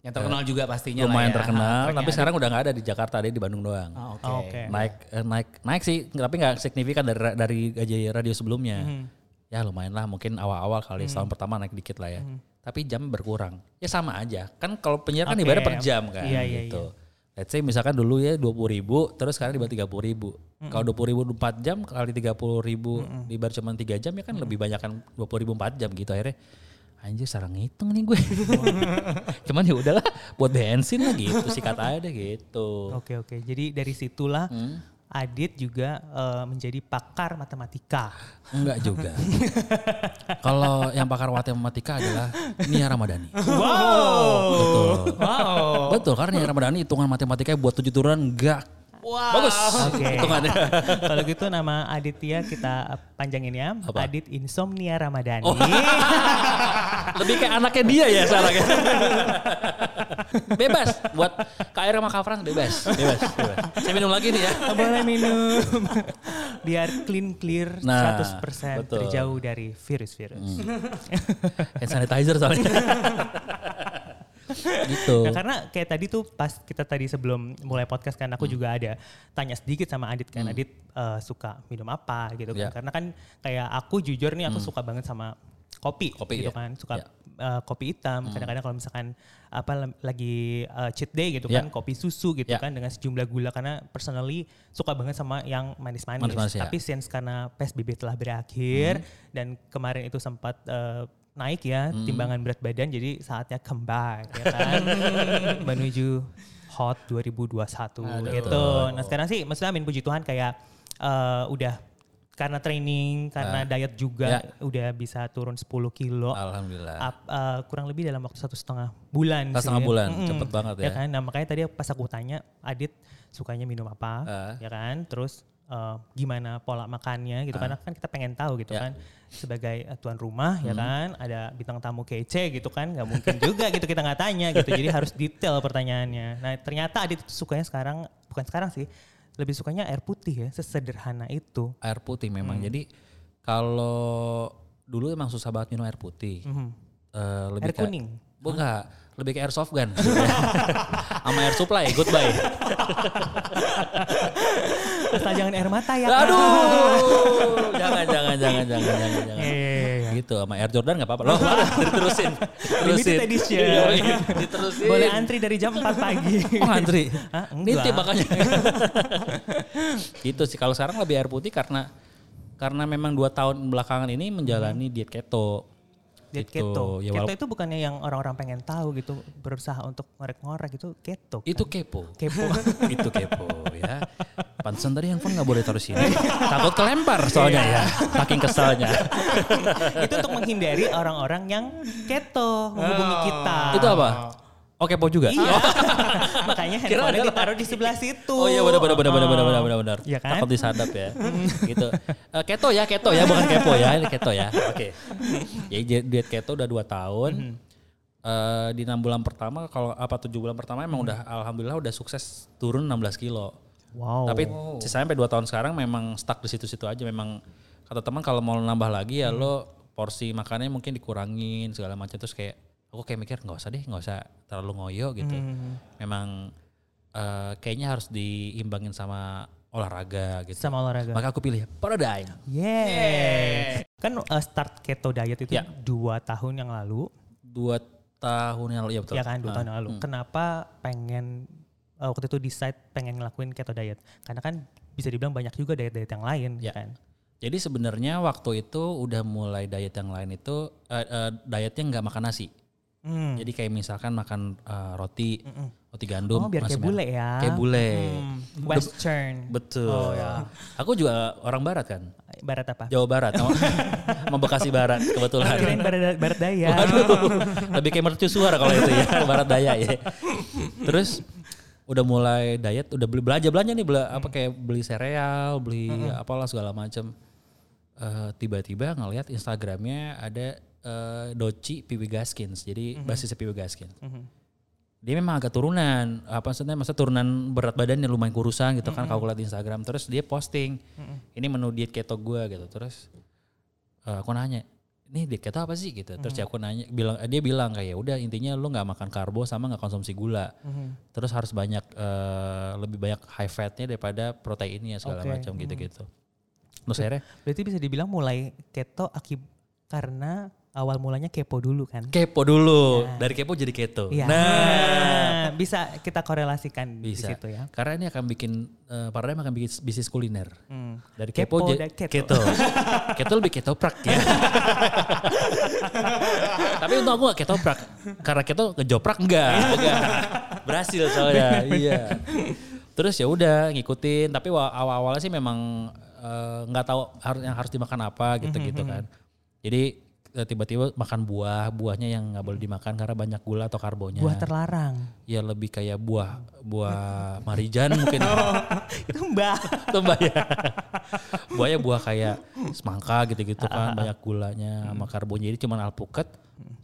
[SPEAKER 1] Yang terkenal juga pastinya lah
[SPEAKER 3] Eh, lumayan
[SPEAKER 1] ya.
[SPEAKER 3] terkenal,
[SPEAKER 1] Tracknya
[SPEAKER 3] tapi
[SPEAKER 1] Adit.
[SPEAKER 3] sekarang udah nggak ada di Jakarta, ada di Bandung doang.
[SPEAKER 1] Oh, Oke.
[SPEAKER 2] Oke.
[SPEAKER 3] Naik eh, naik naik sih, tapi nggak signifikan dari dari gaji radio sebelumnya.
[SPEAKER 2] Mhm.
[SPEAKER 3] Ya lumayan lah, mungkin awal-awal kali setahun pertama naik dikit
[SPEAKER 2] Mhm.
[SPEAKER 3] lah ya. Tapi jam berkurang. Ya sama aja. Kan kalau penyiar kan
[SPEAKER 2] Oke.
[SPEAKER 3] dibayar per jam kan
[SPEAKER 2] Iya, iya,
[SPEAKER 3] gitu. Let's say misalkan dulu ya 20 ribu, terus sekarang dibayar 30 ribu.
[SPEAKER 2] Mhm.
[SPEAKER 3] Kalau 20 ribu 4 jam, kali 30 ribu dibayar cuma 3 jam, ya
[SPEAKER 2] Mhm.
[SPEAKER 3] kan lebih banyak kan 20 ribu 4 jam gitu. Akhirnya anjir salah ngitung nih gue. Cuman ya udahlah buat bensin lah gitu, sikat aja deh gitu.
[SPEAKER 2] Oke oke. Jadi dari situlah
[SPEAKER 3] Hmm.
[SPEAKER 2] Adit juga eh, menjadi pakar matematika.
[SPEAKER 3] Enggak juga. Kalau yang pakar matematika adalah Nia Ramadhani. Betul.
[SPEAKER 1] Wow.
[SPEAKER 2] Oh.
[SPEAKER 3] Betul karena Nia Ramadhani hitungan matematikanya buat tujuh turunan enggak
[SPEAKER 1] Wow.
[SPEAKER 3] bagus.
[SPEAKER 2] Ah. Oke.
[SPEAKER 3] Hitungannya.
[SPEAKER 2] Kalau gitu nama Aditya kita panjangin ya.
[SPEAKER 3] Apa?
[SPEAKER 2] Adit Insomnia Ramadhani.
[SPEAKER 3] Oh. Lebih kayak anaknya dia ya sekarang. ya. bebas buat KR sama Kak Frans bebas. Bebas, bebas. Saya minum lagi nih ya.
[SPEAKER 2] Boleh minum. Biar clean clear
[SPEAKER 3] Nah,
[SPEAKER 2] 100%
[SPEAKER 3] betul. Hmm.
[SPEAKER 2] terjauh dari virus-virus.
[SPEAKER 3] Hand sanitizer soalnya. gitu.
[SPEAKER 2] Nah, karena kayak tadi tuh pas kita tadi sebelum mulai podcast kan
[SPEAKER 3] Hmm.
[SPEAKER 2] aku juga ada tanya sedikit sama Adit kan Adit eh, suka minum apa gitu kan.
[SPEAKER 3] Ya. Hmm.
[SPEAKER 2] Karena kan kayak aku jujur nih aku suka banget sama kopi,
[SPEAKER 3] Kopi,
[SPEAKER 2] gitu
[SPEAKER 3] ya.
[SPEAKER 2] kan. Suka
[SPEAKER 3] Ya. Hmm.
[SPEAKER 2] eh, kopi hitam. Kadang-kadang kalau misalkan apa lem- lagi eh, cheat day gitu
[SPEAKER 3] Ya.
[SPEAKER 2] kan kopi susu gitu
[SPEAKER 3] Ya.
[SPEAKER 2] kan dengan sejumlah gula karena personally suka banget sama yang manis-manis.
[SPEAKER 3] Manis-manis, ya.
[SPEAKER 2] Tapi since karena PSBB telah berakhir
[SPEAKER 3] Hmm.
[SPEAKER 2] dan kemarin itu sempat eh, naik ya timbangan berat badan jadi saatnya comeback ya kan menuju hot 2021 gitu. Nah sekarang sih maksudnya amin puji Tuhan kayak eh, udah karena training, karena diet juga udah bisa turun 10 kilo.
[SPEAKER 3] Ah. Ya. Alhamdulillah.
[SPEAKER 2] Up, eh, kurang lebih dalam waktu satu setengah bulan
[SPEAKER 3] Satu
[SPEAKER 2] sih.
[SPEAKER 3] setengah bulan,
[SPEAKER 2] Mm-mm.
[SPEAKER 3] cepet banget ya.
[SPEAKER 2] kan? Nah makanya tadi pas aku tanya Adit sukanya minum apa,
[SPEAKER 3] Ah.
[SPEAKER 2] ya kan? Terus eh, gimana pola makannya gitu
[SPEAKER 3] Ah.
[SPEAKER 2] karena kan kita pengen tahu gitu
[SPEAKER 3] Ya.
[SPEAKER 2] kan sebagai eh, tuan rumah ya
[SPEAKER 3] Hmm.
[SPEAKER 2] kan ada bintang tamu kece gitu kan nggak mungkin juga gitu kita nggak tanya gitu jadi harus detail pertanyaannya. Nah ternyata Adit sukanya sekarang bukan sekarang sih lebih sukanya air putih ya sesederhana itu.
[SPEAKER 3] air putih memang.
[SPEAKER 2] Mm.
[SPEAKER 3] Jadi kalau dulu emang susah banget minum air putih. Eh,
[SPEAKER 2] Mm-hmm.
[SPEAKER 3] lebih
[SPEAKER 2] Air
[SPEAKER 3] ke-
[SPEAKER 2] kuning?
[SPEAKER 3] Bu, enggak, lebih ke air soft gun. Sama air supply, goodbye.
[SPEAKER 2] Terus jangan air mata ya. Kak.
[SPEAKER 3] Aduh, jangan, jangan, jangan, jangan, jangan, jangan.
[SPEAKER 2] Iya, iya, iya.
[SPEAKER 3] Gitu, sama Air Jordan gak apa-apa. Loh, diterusin. Terusin.
[SPEAKER 2] Limited edition.
[SPEAKER 3] diterusin.
[SPEAKER 2] Boleh antri dari jam 4 pagi.
[SPEAKER 3] Oh antri.
[SPEAKER 2] Hah, enggak.
[SPEAKER 3] Nitip makanya. gitu sih kalau sekarang lebih air putih karena karena memang dua tahun belakangan ini menjalani diet keto.
[SPEAKER 2] Diet
[SPEAKER 3] Gitu.
[SPEAKER 2] keto.
[SPEAKER 3] Ya,
[SPEAKER 2] keto
[SPEAKER 3] walaupun-
[SPEAKER 2] itu bukannya yang orang-orang pengen tahu gitu, berusaha untuk ngorek-ngorek itu keto.
[SPEAKER 3] itu kepo.
[SPEAKER 2] Kepo.
[SPEAKER 3] itu kepo ya. Pantesan tadi handphone nggak boleh taruh sini. Takut kelempar soalnya
[SPEAKER 2] Iya.
[SPEAKER 3] ya. Saking kesalnya.
[SPEAKER 2] itu untuk menghindari orang-orang yang keto menghubungi kita.
[SPEAKER 3] itu apa? Oh kepo juga.
[SPEAKER 2] Iya. Makanya
[SPEAKER 3] Kira
[SPEAKER 2] handphone
[SPEAKER 3] ada
[SPEAKER 2] ditaruh di sebelah situ.
[SPEAKER 3] Oh iya benar benar benar benar benar benar benar benar.
[SPEAKER 2] Iya kan?
[SPEAKER 3] Takut disadap ya. gitu. Eh, keto ya, keto ya, bukan kepo ya, ini keto ya. Oke. Ya di- diet keto udah 2 tahun.
[SPEAKER 2] Mhm.
[SPEAKER 3] Eh, di 6 bulan pertama kalau apa 7 bulan pertama emang udah alhamdulillah udah sukses turun 16 kilo.
[SPEAKER 2] Wow.
[SPEAKER 3] Tapi sisanya sampai 2 tahun sekarang memang stuck di situ-situ aja memang kata teman kalau mau nambah lagi ya
[SPEAKER 2] Hmm.
[SPEAKER 3] lo porsi makannya mungkin dikurangin segala macam terus kayak aku kayak mikir nggak usah deh nggak usah terlalu ngoyo gitu.
[SPEAKER 2] Hmm,
[SPEAKER 3] Memang eh, kayaknya harus diimbangin sama olahraga gitu.
[SPEAKER 2] sama olahraga.
[SPEAKER 3] Maka aku pilih Paradigm.
[SPEAKER 2] Yes. Kan uh, start keto diet itu
[SPEAKER 3] Ya.
[SPEAKER 2] dua tahun yang lalu, Iya
[SPEAKER 3] Dua tahun yang lalu ya betul.
[SPEAKER 2] kan, ya kan dua tahun yang lalu. Kenapa pengen eh, waktu itu decide pengen ngelakuin keto diet? Karena kan bisa dibilang banyak juga diet-diet yang lain
[SPEAKER 3] Ya.
[SPEAKER 2] kan.
[SPEAKER 3] Jadi sebenarnya waktu itu udah mulai diet yang lain itu eh, eh, dietnya nggak makan nasi.
[SPEAKER 2] Hmm.
[SPEAKER 3] Jadi kayak misalkan makan eh, roti, roti gandum.
[SPEAKER 2] Oh biar
[SPEAKER 3] nasi
[SPEAKER 2] kayak
[SPEAKER 3] merah.
[SPEAKER 2] bule ya.
[SPEAKER 3] Kayak bule.
[SPEAKER 2] Hmm, Western.
[SPEAKER 3] Betul.
[SPEAKER 2] Oh, ya.
[SPEAKER 3] Aku juga orang barat kan.
[SPEAKER 2] Barat apa?
[SPEAKER 3] Jawa Barat. sama- sama Bekasi Barat kebetulan.
[SPEAKER 2] Kirain barat, barat daya.
[SPEAKER 3] Waduh, lebih kayak mercusuar kalau itu ya, barat daya ya. Terus udah mulai diet, udah beli belanja belanja nih, bela, apa kayak beli sereal, beli apalah segala macem. Eh, Tiba-tiba ngelihat Instagramnya ada eh, Doci Piwi Gaskins, jadi basisnya Piwi Gaskins.
[SPEAKER 2] Mm-hmm.
[SPEAKER 3] Dia memang agak turunan, apa maksudnya masa turunan berat badannya lumayan kurusan gitu kan kalau aku lihat Instagram. Terus dia posting, ini menu diet keto gue gitu. Terus Eh, aku nanya ini diet keto apa sih gitu terus ya aku nanya bilang dia bilang kayak udah intinya lu nggak makan karbo sama nggak konsumsi gula
[SPEAKER 2] Mm-hmm.
[SPEAKER 3] terus harus banyak eh, lebih banyak high fatnya daripada proteinnya segala
[SPEAKER 2] Oke. Mm.
[SPEAKER 3] macam gitu gitu terus akhirnya
[SPEAKER 2] Berarti bisa dibilang mulai keto akib karena awal mulanya kepo dulu kan.
[SPEAKER 3] kepo dulu dari kepo jadi keto
[SPEAKER 2] Iya.
[SPEAKER 3] nah
[SPEAKER 2] bisa kita korelasikan
[SPEAKER 3] bisa
[SPEAKER 2] di situ ya.
[SPEAKER 3] karena ini akan bikin eh, paradigma akan bikin bisnis kuliner
[SPEAKER 2] Hmm.
[SPEAKER 3] dari
[SPEAKER 2] Kepo
[SPEAKER 3] kepo,
[SPEAKER 2] dan
[SPEAKER 3] jadi
[SPEAKER 2] keto.
[SPEAKER 3] keto keto lebih ketoprak ya tapi untung aku gak ketoprak karena keto ngejoprak enggak, enggak. berhasil soalnya iya terus ya udah ngikutin tapi wa- awal-awalnya sih memang eh, nggak tahu harus yang harus dimakan apa gitu gitu kan jadi eh, tiba-tiba makan buah buahnya yang nggak boleh dimakan karena banyak gula atau karbonya
[SPEAKER 2] Buah terlarang.
[SPEAKER 3] ya lebih kayak buah buah marijan mungkin
[SPEAKER 2] Itu mbak.
[SPEAKER 3] Tembak ya. Buahnya buah kayak semangka gitu-gitu
[SPEAKER 2] Ah,
[SPEAKER 3] kan banyak gulanya sama karbonnya jadi cuman alpukat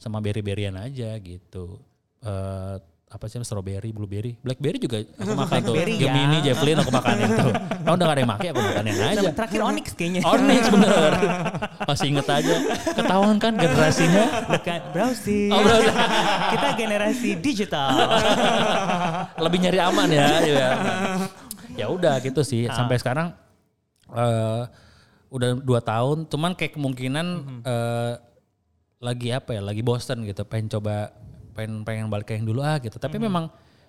[SPEAKER 3] sama berry-berryan aja gitu. Eh apa sih strawberry, blueberry, blackberry juga aku makan tuh.
[SPEAKER 2] Blackberry ya.
[SPEAKER 3] Gemini, Javelin aku makan itu. Kalau udah gak ada yang make aku makan yang aja.
[SPEAKER 2] Sama Terakhir Onyx kayaknya.
[SPEAKER 3] Onyx bener. Masih inget aja. Ketahuan kan generasinya.
[SPEAKER 2] Bukan browsing.
[SPEAKER 3] Oh, browsing.
[SPEAKER 2] kita generasi digital.
[SPEAKER 3] lebih nyari aman ya ya ya udah gitu sih sampai sekarang eh udah dua tahun cuman kayak kemungkinan eh, lagi apa ya lagi bosen gitu pengen coba pengen pengen balik ke yang dulu ah gitu
[SPEAKER 2] Mm-hmm.
[SPEAKER 3] tapi memang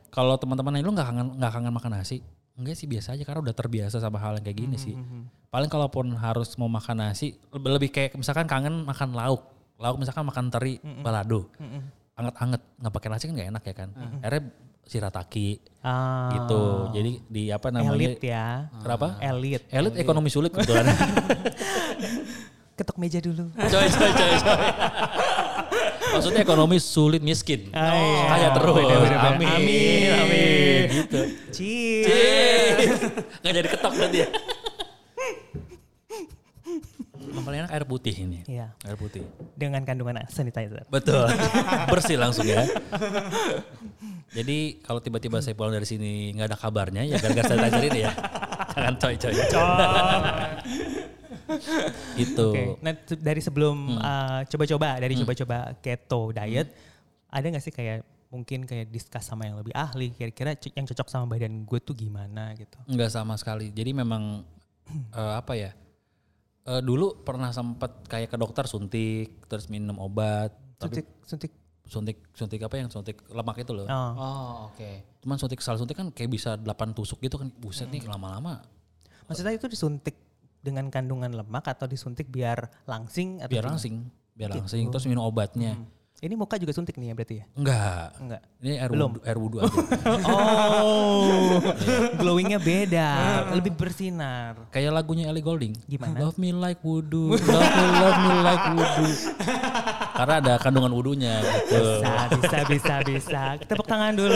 [SPEAKER 3] kalau teman-teman lu nggak kangen nggak kangen makan nasi enggak sih biasa aja karena udah terbiasa sama hal yang kayak gini sih
[SPEAKER 2] Mm-hmm.
[SPEAKER 3] paling kalaupun harus mau makan nasi lebih lebih kayak misalkan kangen makan lauk lauk misalkan makan teri balado anget-anget nggak pakai nasi kan nggak enak ya kan akhirnya sirataki
[SPEAKER 2] Ah,
[SPEAKER 3] gitu. Jadi di apa namanya? Ah.
[SPEAKER 2] Elit ya.
[SPEAKER 3] Kenapa?
[SPEAKER 2] Elit.
[SPEAKER 3] Elit ekonomi sulit kebetulan.
[SPEAKER 2] Ketok meja dulu.
[SPEAKER 3] coy, coy, coy, coy. Maksudnya ekonomi sulit miskin.
[SPEAKER 2] Ah, iya.
[SPEAKER 3] Kaya terus.
[SPEAKER 2] Bener-bener.
[SPEAKER 3] Amin.
[SPEAKER 2] Amin.
[SPEAKER 3] Amin. Gitu.
[SPEAKER 2] Cheers.
[SPEAKER 3] Yeay. Nggak jadi ketok nanti ya. Yang paling enak air putih ini.
[SPEAKER 2] Iya.
[SPEAKER 3] Air putih.
[SPEAKER 2] Dengan kandungan sanitizer.
[SPEAKER 3] Betul. Bersih langsung ya. Jadi kalau tiba-tiba saya pulang dari sini nggak ada kabarnya ya gara-gara sanitizer ini ya. Jangan coy coy. Itu.
[SPEAKER 2] Oke. Nah, se- dari sebelum
[SPEAKER 3] Hmm.
[SPEAKER 2] uh, coba-coba, dari coba-coba keto diet,
[SPEAKER 3] Hmm.
[SPEAKER 2] ada nggak sih kayak mungkin kayak discuss sama yang lebih ahli, kira-kira c- yang cocok sama badan gue tuh gimana gitu?
[SPEAKER 3] Nggak sama sekali. Jadi memang eh, apa ya? Eh, dulu pernah sempat kayak ke dokter suntik, terus minum obat, tapi
[SPEAKER 2] Suntik, suntik.
[SPEAKER 3] suntik suntik apa yang suntik lemak itu loh.
[SPEAKER 2] Oh.
[SPEAKER 1] Oh, oke.
[SPEAKER 3] Cuman suntik salah suntik kan kayak bisa 8 tusuk gitu kan. Buset nih lama-lama
[SPEAKER 2] Maksudnya itu disuntik dengan kandungan lemak atau disuntik biar langsing atau
[SPEAKER 3] biar
[SPEAKER 2] gimana?
[SPEAKER 3] langsing, biar
[SPEAKER 2] Gitu.
[SPEAKER 3] langsing terus minum obatnya.
[SPEAKER 2] Ini muka juga suntik nih ya berarti ya?
[SPEAKER 3] Enggak.
[SPEAKER 2] Enggak.
[SPEAKER 3] Ini air
[SPEAKER 2] Belum.
[SPEAKER 3] wudhu, air wudhu aja.
[SPEAKER 2] Oh, glowingnya beda, lebih bersinar.
[SPEAKER 3] Kayak lagunya Ellie Golding.
[SPEAKER 2] Gimana?
[SPEAKER 3] Love me like wudhu, love me, love me like wudhu. Karena ada kandungan wudhunya gitu.
[SPEAKER 2] Bisa, bisa, bisa, bisa. Tepuk tangan dulu.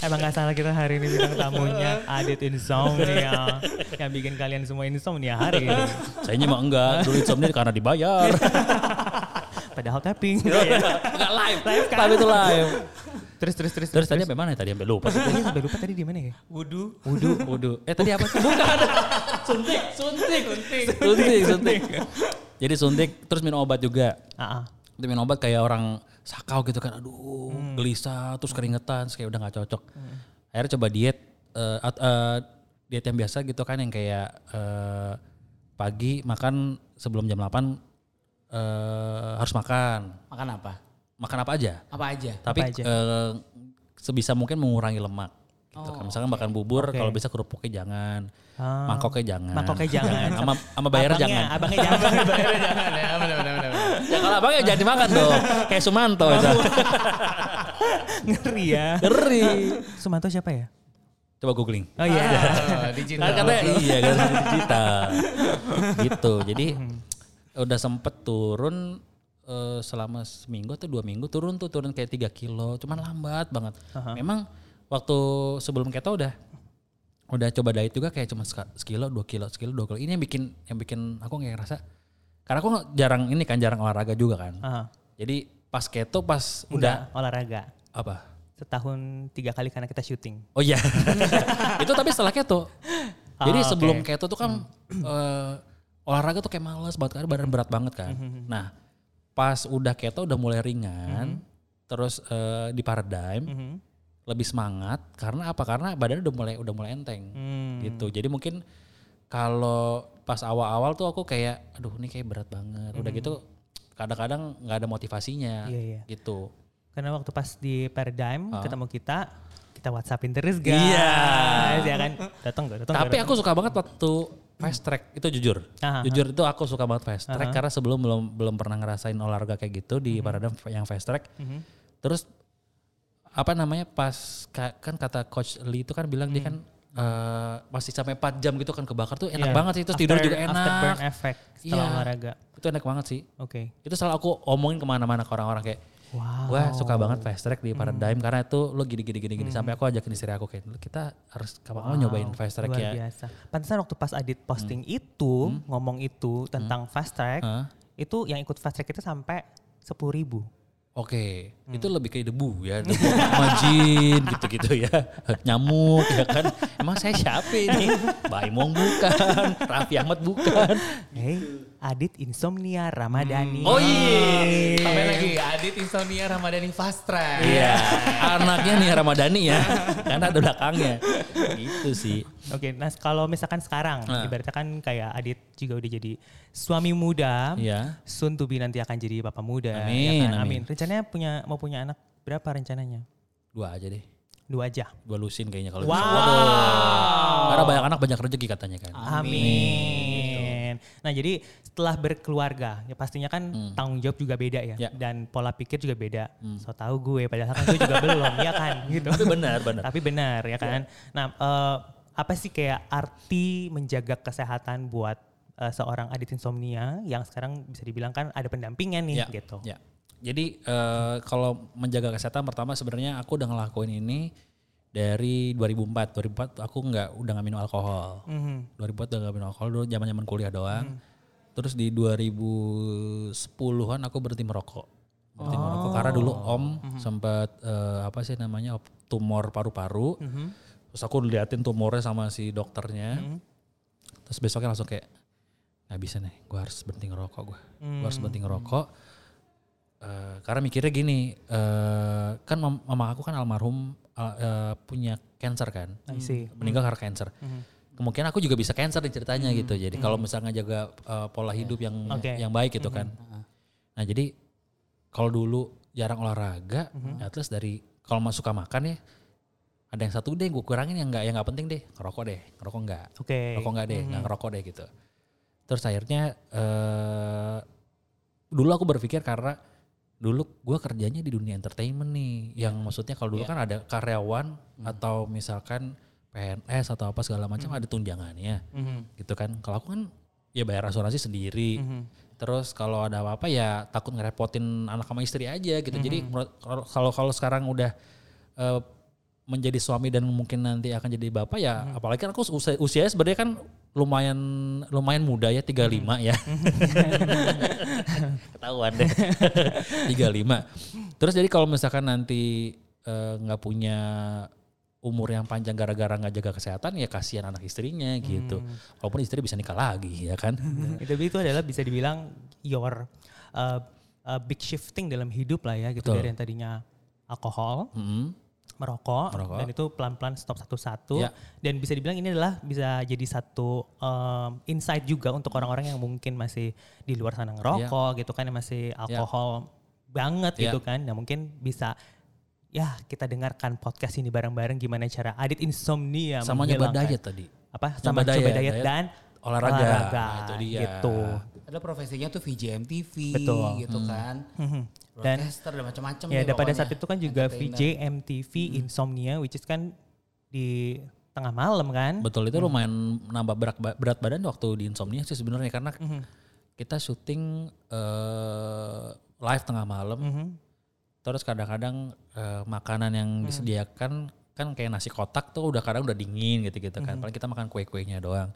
[SPEAKER 2] Emang gak salah kita hari ini bintang tamunya Adit Insomnia. Yang bikin kalian semua insomnia hari ini.
[SPEAKER 3] Saya mah enggak, dulu insomnia karena dibayar.
[SPEAKER 2] Padahal tapping.
[SPEAKER 3] Enggak live, tapi itu live.
[SPEAKER 2] Terus, terus, terus.
[SPEAKER 3] Terus tadi sampai mana ya? Tadi sampai lupa.
[SPEAKER 2] Tadi sampai lupa tadi di mana ya?
[SPEAKER 1] Wudu.
[SPEAKER 3] Wudhu, wudhu. Eh tadi apa? Bukan. suntik, suntik.
[SPEAKER 1] Suntik.
[SPEAKER 3] Suntik, suntik. Jadi suntik, terus minum obat juga.
[SPEAKER 2] Ah, ah.
[SPEAKER 3] Itu minum obat kayak orang sakau gitu kan. Aduh, gelisah, terus keringetan, terus kayak udah nggak cocok. Akhirnya coba diet eh, at- eh, diet yang biasa gitu kan yang kayak eh, pagi makan sebelum jam 8 eh, harus makan.
[SPEAKER 1] Makan apa?
[SPEAKER 3] Makan apa aja?
[SPEAKER 1] Apa aja?
[SPEAKER 3] Tapi
[SPEAKER 2] Apa aja?
[SPEAKER 3] eh, sebisa mungkin mengurangi lemak. Gitu. kan. Misalkan makan bubur,
[SPEAKER 2] Oh, Oke.
[SPEAKER 3] kalau bisa kerupuknya jangan,
[SPEAKER 2] Ah.
[SPEAKER 3] mangkoknya jangan,
[SPEAKER 2] Mangkoknya jangan.
[SPEAKER 3] sama sama bayarnya
[SPEAKER 2] Abangnya-
[SPEAKER 3] jangan.
[SPEAKER 2] Abangnya jangan.
[SPEAKER 1] jangan ya, benar benar benar.
[SPEAKER 3] Ya kalau abangnya jangan dimakan tuh, kayak Sumanto itu.
[SPEAKER 2] Ngeri ya.
[SPEAKER 3] Ngeri.
[SPEAKER 2] Sumanto siapa ya?
[SPEAKER 3] Coba googling.
[SPEAKER 2] Oh iya. Nah,
[SPEAKER 1] Ah,
[SPEAKER 3] Kan
[SPEAKER 1] Digital.
[SPEAKER 3] katanya iya gara-gara digital. gitu. Jadi udah sempet turun eh, selama seminggu atau dua minggu turun tuh turun kayak tiga kilo, cuman lambat banget. Memang waktu sebelum keto udah udah coba diet juga kayak cuma seka- sekilo dua kilo sekilo dua kilo ini yang bikin yang bikin aku kayak ngerasa karena aku nggak- jarang ini kan jarang olahraga juga kan
[SPEAKER 2] Ah,
[SPEAKER 3] jadi pas keto pas udah
[SPEAKER 2] enggak, olahraga.
[SPEAKER 3] apa
[SPEAKER 2] Setahun tiga kali karena kita syuting.
[SPEAKER 3] Oh iya. itu tapi setelah keto.
[SPEAKER 2] Ah,
[SPEAKER 3] Jadi
[SPEAKER 2] oke. Hmm.
[SPEAKER 3] sebelum keto tuh kan eh, olahraga tuh kayak males banget kan badan berat banget kan.
[SPEAKER 2] Hmm. Mhm.
[SPEAKER 3] Nah, pas udah keto udah mulai ringan,
[SPEAKER 2] Hmm.
[SPEAKER 3] terus eh, di paradigm
[SPEAKER 2] Mhm.
[SPEAKER 3] lebih semangat karena apa? Karena badan udah mulai udah mulai enteng
[SPEAKER 2] Hmm.
[SPEAKER 3] gitu. Jadi mungkin kalau pas awal-awal tuh aku kayak aduh ini kayak berat banget. Udah gitu kadang-kadang nggak ada motivasinya
[SPEAKER 2] Hmm. Iya, iya.
[SPEAKER 3] gitu.
[SPEAKER 2] Karena waktu pas di Paradigm ketemu kita, kita WhatsAppin terus guys.
[SPEAKER 3] Ah. Iya.
[SPEAKER 2] Ya kan? Datang gak? Datang
[SPEAKER 3] Tapi aku suka banget waktu fast track itu jujur.
[SPEAKER 2] Aha.
[SPEAKER 3] Jujur itu aku suka banget fast track karena sebelum belum belum pernah ngerasain olahraga kayak
[SPEAKER 2] Mhm.
[SPEAKER 3] gitu di Paradigm yang fast track. Terus apa namanya pas ka- kan kata coach Lee itu kan bilang
[SPEAKER 2] Mhm.
[SPEAKER 3] dia kan eh, masih sampai 4 jam gitu kan kebakar tuh
[SPEAKER 2] Iya.
[SPEAKER 3] enak banget sih terus tidur juga
[SPEAKER 2] Afterburn
[SPEAKER 3] enak.
[SPEAKER 2] effect setelah
[SPEAKER 3] Iya.
[SPEAKER 2] olahraga.
[SPEAKER 3] Itu enak banget sih.
[SPEAKER 2] Oke.
[SPEAKER 3] Itu selalu aku omongin kemana-mana ke orang-orang kayak
[SPEAKER 2] Wow. Mhm.
[SPEAKER 3] Gue suka banget fast track di Paradigm karena itu lo gini gini gini gini sampai aku ajakin istri aku kayak kita harus kapan nyobain fast track
[SPEAKER 2] Luar
[SPEAKER 3] ya. Hmm.
[SPEAKER 2] biasa. Pantesan waktu pas Adit posting itu, ngomong itu tentang fast track,
[SPEAKER 3] Hah?
[SPEAKER 2] itu yang ikut fast track itu sampai sepuluh ribu.
[SPEAKER 3] Oke, itu lebih kayak debu ya, debu sama jin gitu-gitu ya, nyamuk ya kan. Emang saya siapa ini? Baimong bukan, Raffi Ahmad bukan.
[SPEAKER 2] Hey, Adit insomnia Ramadhani.
[SPEAKER 3] Gitu. Oh iya,
[SPEAKER 1] Tambah lagi Adit Insomnia Ramadhani Fast Track.
[SPEAKER 3] iya anaknya nih Ramadhani ya, karena ada belakangnya. Gitu sih.
[SPEAKER 2] Oke, nah kalau misalkan sekarang,
[SPEAKER 3] Ah.
[SPEAKER 2] ibaratnya kan kayak Adit juga udah jadi suami muda,
[SPEAKER 3] Iya.
[SPEAKER 2] soon to be nanti akan jadi bapak muda. ya
[SPEAKER 3] Amin,
[SPEAKER 2] kan?
[SPEAKER 3] amin.
[SPEAKER 2] amin. Rencananya punya mau punya anak berapa rencananya?
[SPEAKER 3] Dua aja deh,
[SPEAKER 2] Dua aja.
[SPEAKER 3] dua lusin kayaknya kalau
[SPEAKER 2] Wow. Ah.
[SPEAKER 3] bisa.
[SPEAKER 1] Ah.
[SPEAKER 3] Waduh. Karena banyak anak banyak rezeki katanya kan.
[SPEAKER 2] Amin. Nah jadi setelah berkeluarga ya pastinya kan tanggung jawab juga beda ya
[SPEAKER 3] Hmm. Ya. Hmm.
[SPEAKER 2] dan pola pikir juga beda. So tahu gue padahal kan gue juga belum ya kan gitu.
[SPEAKER 3] Tapi benar, benar.
[SPEAKER 2] Tapi benar
[SPEAKER 3] Iya.
[SPEAKER 2] ya kan. Nah eh, apa sih kayak arti menjaga kesehatan buat eh, seorang adit insomnia yang sekarang bisa dibilang kan ada pendampingan nih
[SPEAKER 3] Ya,
[SPEAKER 2] gitu.
[SPEAKER 3] ya. Jadi eh, kalau menjaga kesehatan pertama sebenarnya aku udah ngelakuin ini dari 2004. 2004 aku nggak udah nggak minum alkohol.
[SPEAKER 2] Mhm.
[SPEAKER 3] 2004 udah nggak minum alkohol dulu zaman-zaman kuliah
[SPEAKER 2] Hmm.
[SPEAKER 3] doang. Terus di 2010-an aku berhenti merokok. Berhenti
[SPEAKER 2] Oh.
[SPEAKER 3] merokok karena dulu om
[SPEAKER 2] Hmm.
[SPEAKER 3] sempat eh, apa sih namanya op- tumor paru-paru.
[SPEAKER 2] Hmm.
[SPEAKER 3] Terus aku liatin tumornya sama si dokternya. Terus besoknya langsung kayak nggak bisa nih, gue harus berhenti ngerokok gue. Gue
[SPEAKER 2] Hmm.
[SPEAKER 3] harus berhenti ngerokok. Eh, karena mikirnya gini, eh, kan mam- mama aku kan almarhum al- eh, punya cancer kan,
[SPEAKER 2] I see.
[SPEAKER 3] meninggal karena cancer.
[SPEAKER 2] Mhm.
[SPEAKER 3] Kemungkinan aku juga bisa cancer nih ceritanya gitu. Jadi kalau misalnya jaga eh, pola hidup yang
[SPEAKER 2] Oke.
[SPEAKER 3] yang baik gitu kan.
[SPEAKER 1] Ah.
[SPEAKER 3] Nah jadi kalau dulu jarang olahraga, at least dari kalau mau suka makan ya ada yang satu deh gue kurangin yang nggak yang nggak penting deh, ngerokok deh, ngerokok nggak
[SPEAKER 2] Oke. Mhm.
[SPEAKER 3] rokok nggak deh, nggak ngerokok deh gitu. Terus akhirnya eh dulu aku berpikir karena dulu gua kerjanya di dunia entertainment nih, yang maksudnya kalau dulu kan ada karyawan atau misalkan PNS atau apa segala macam ada tunjangannya,
[SPEAKER 2] Mhm.
[SPEAKER 3] gitu kan. Kalau aku kan ya bayar asuransi
[SPEAKER 2] Hmm.
[SPEAKER 3] sendiri. Terus kalau ada apa-apa ya takut ngerepotin anak sama istri aja gitu. Jadi menurut- kalau- kalau kalau sekarang udah eh, menjadi suami dan mungkin nanti akan jadi bapak ya apalagi kan aku usia, usianya sebenarnya kan lumayan lumayan muda ya 35 ya. Ketahuan deh. 35. Terus jadi kalau misalkan nanti eh, nggak punya umur yang panjang gara-gara nggak jaga kesehatan ya kasihan anak istrinya gitu. Walaupun istri bisa nikah lagi ya kan.
[SPEAKER 2] itu itu adalah bisa dibilang your uh, uh, big shifting dalam hidup lah ya gitu
[SPEAKER 3] Betul.
[SPEAKER 2] dari yang tadinya alkohol
[SPEAKER 3] Mm.
[SPEAKER 2] merokok,
[SPEAKER 3] Merokok.
[SPEAKER 2] dan itu pelan-pelan stop satu-satu
[SPEAKER 3] Ya.
[SPEAKER 2] dan bisa dibilang ini adalah bisa jadi satu um, insight juga untuk orang-orang yang mungkin masih di luar sana ngerokok gitu kan yang masih alkohol banget
[SPEAKER 3] Ya.
[SPEAKER 2] gitu kan nah mungkin bisa ya kita dengarkan podcast ini bareng-bareng gimana cara Adit insomnia
[SPEAKER 3] Sama nyoba
[SPEAKER 2] menghilangkan.
[SPEAKER 3] diet tadi.
[SPEAKER 2] Apa? Sama
[SPEAKER 3] Nyoba
[SPEAKER 2] coba
[SPEAKER 3] diet,
[SPEAKER 2] diet,
[SPEAKER 3] diet,
[SPEAKER 2] dan
[SPEAKER 3] olahraga.
[SPEAKER 2] olahraga
[SPEAKER 3] Nah, itu dia.
[SPEAKER 2] gitu.
[SPEAKER 1] Ada profesinya tuh VJM TV
[SPEAKER 2] Betul. Mhm.
[SPEAKER 1] gitu kan.
[SPEAKER 2] Dan
[SPEAKER 1] Broadcaster dan macam-macam
[SPEAKER 2] Ya,
[SPEAKER 1] deh
[SPEAKER 2] dan pada
[SPEAKER 1] pokoknya.
[SPEAKER 2] saat itu kan juga
[SPEAKER 1] Entertainer.
[SPEAKER 2] VJMTV
[SPEAKER 3] Hmm.
[SPEAKER 2] insomnia which is kan di tengah malam kan.
[SPEAKER 3] Betul itu lumayan nambah berat, berat badan waktu di insomnia sih sebenarnya karena
[SPEAKER 2] Mhm,
[SPEAKER 3] kita syuting eh, live tengah malam.
[SPEAKER 2] Hmm. mhm.
[SPEAKER 3] Terus kadang-kadang eh, makanan yang
[SPEAKER 2] Hmm.
[SPEAKER 3] disediakan kan kayak nasi kotak tuh udah kadang udah dingin gitu-gitu
[SPEAKER 2] Hmm.
[SPEAKER 3] kan. Paling kita makan kue-kuenya doang.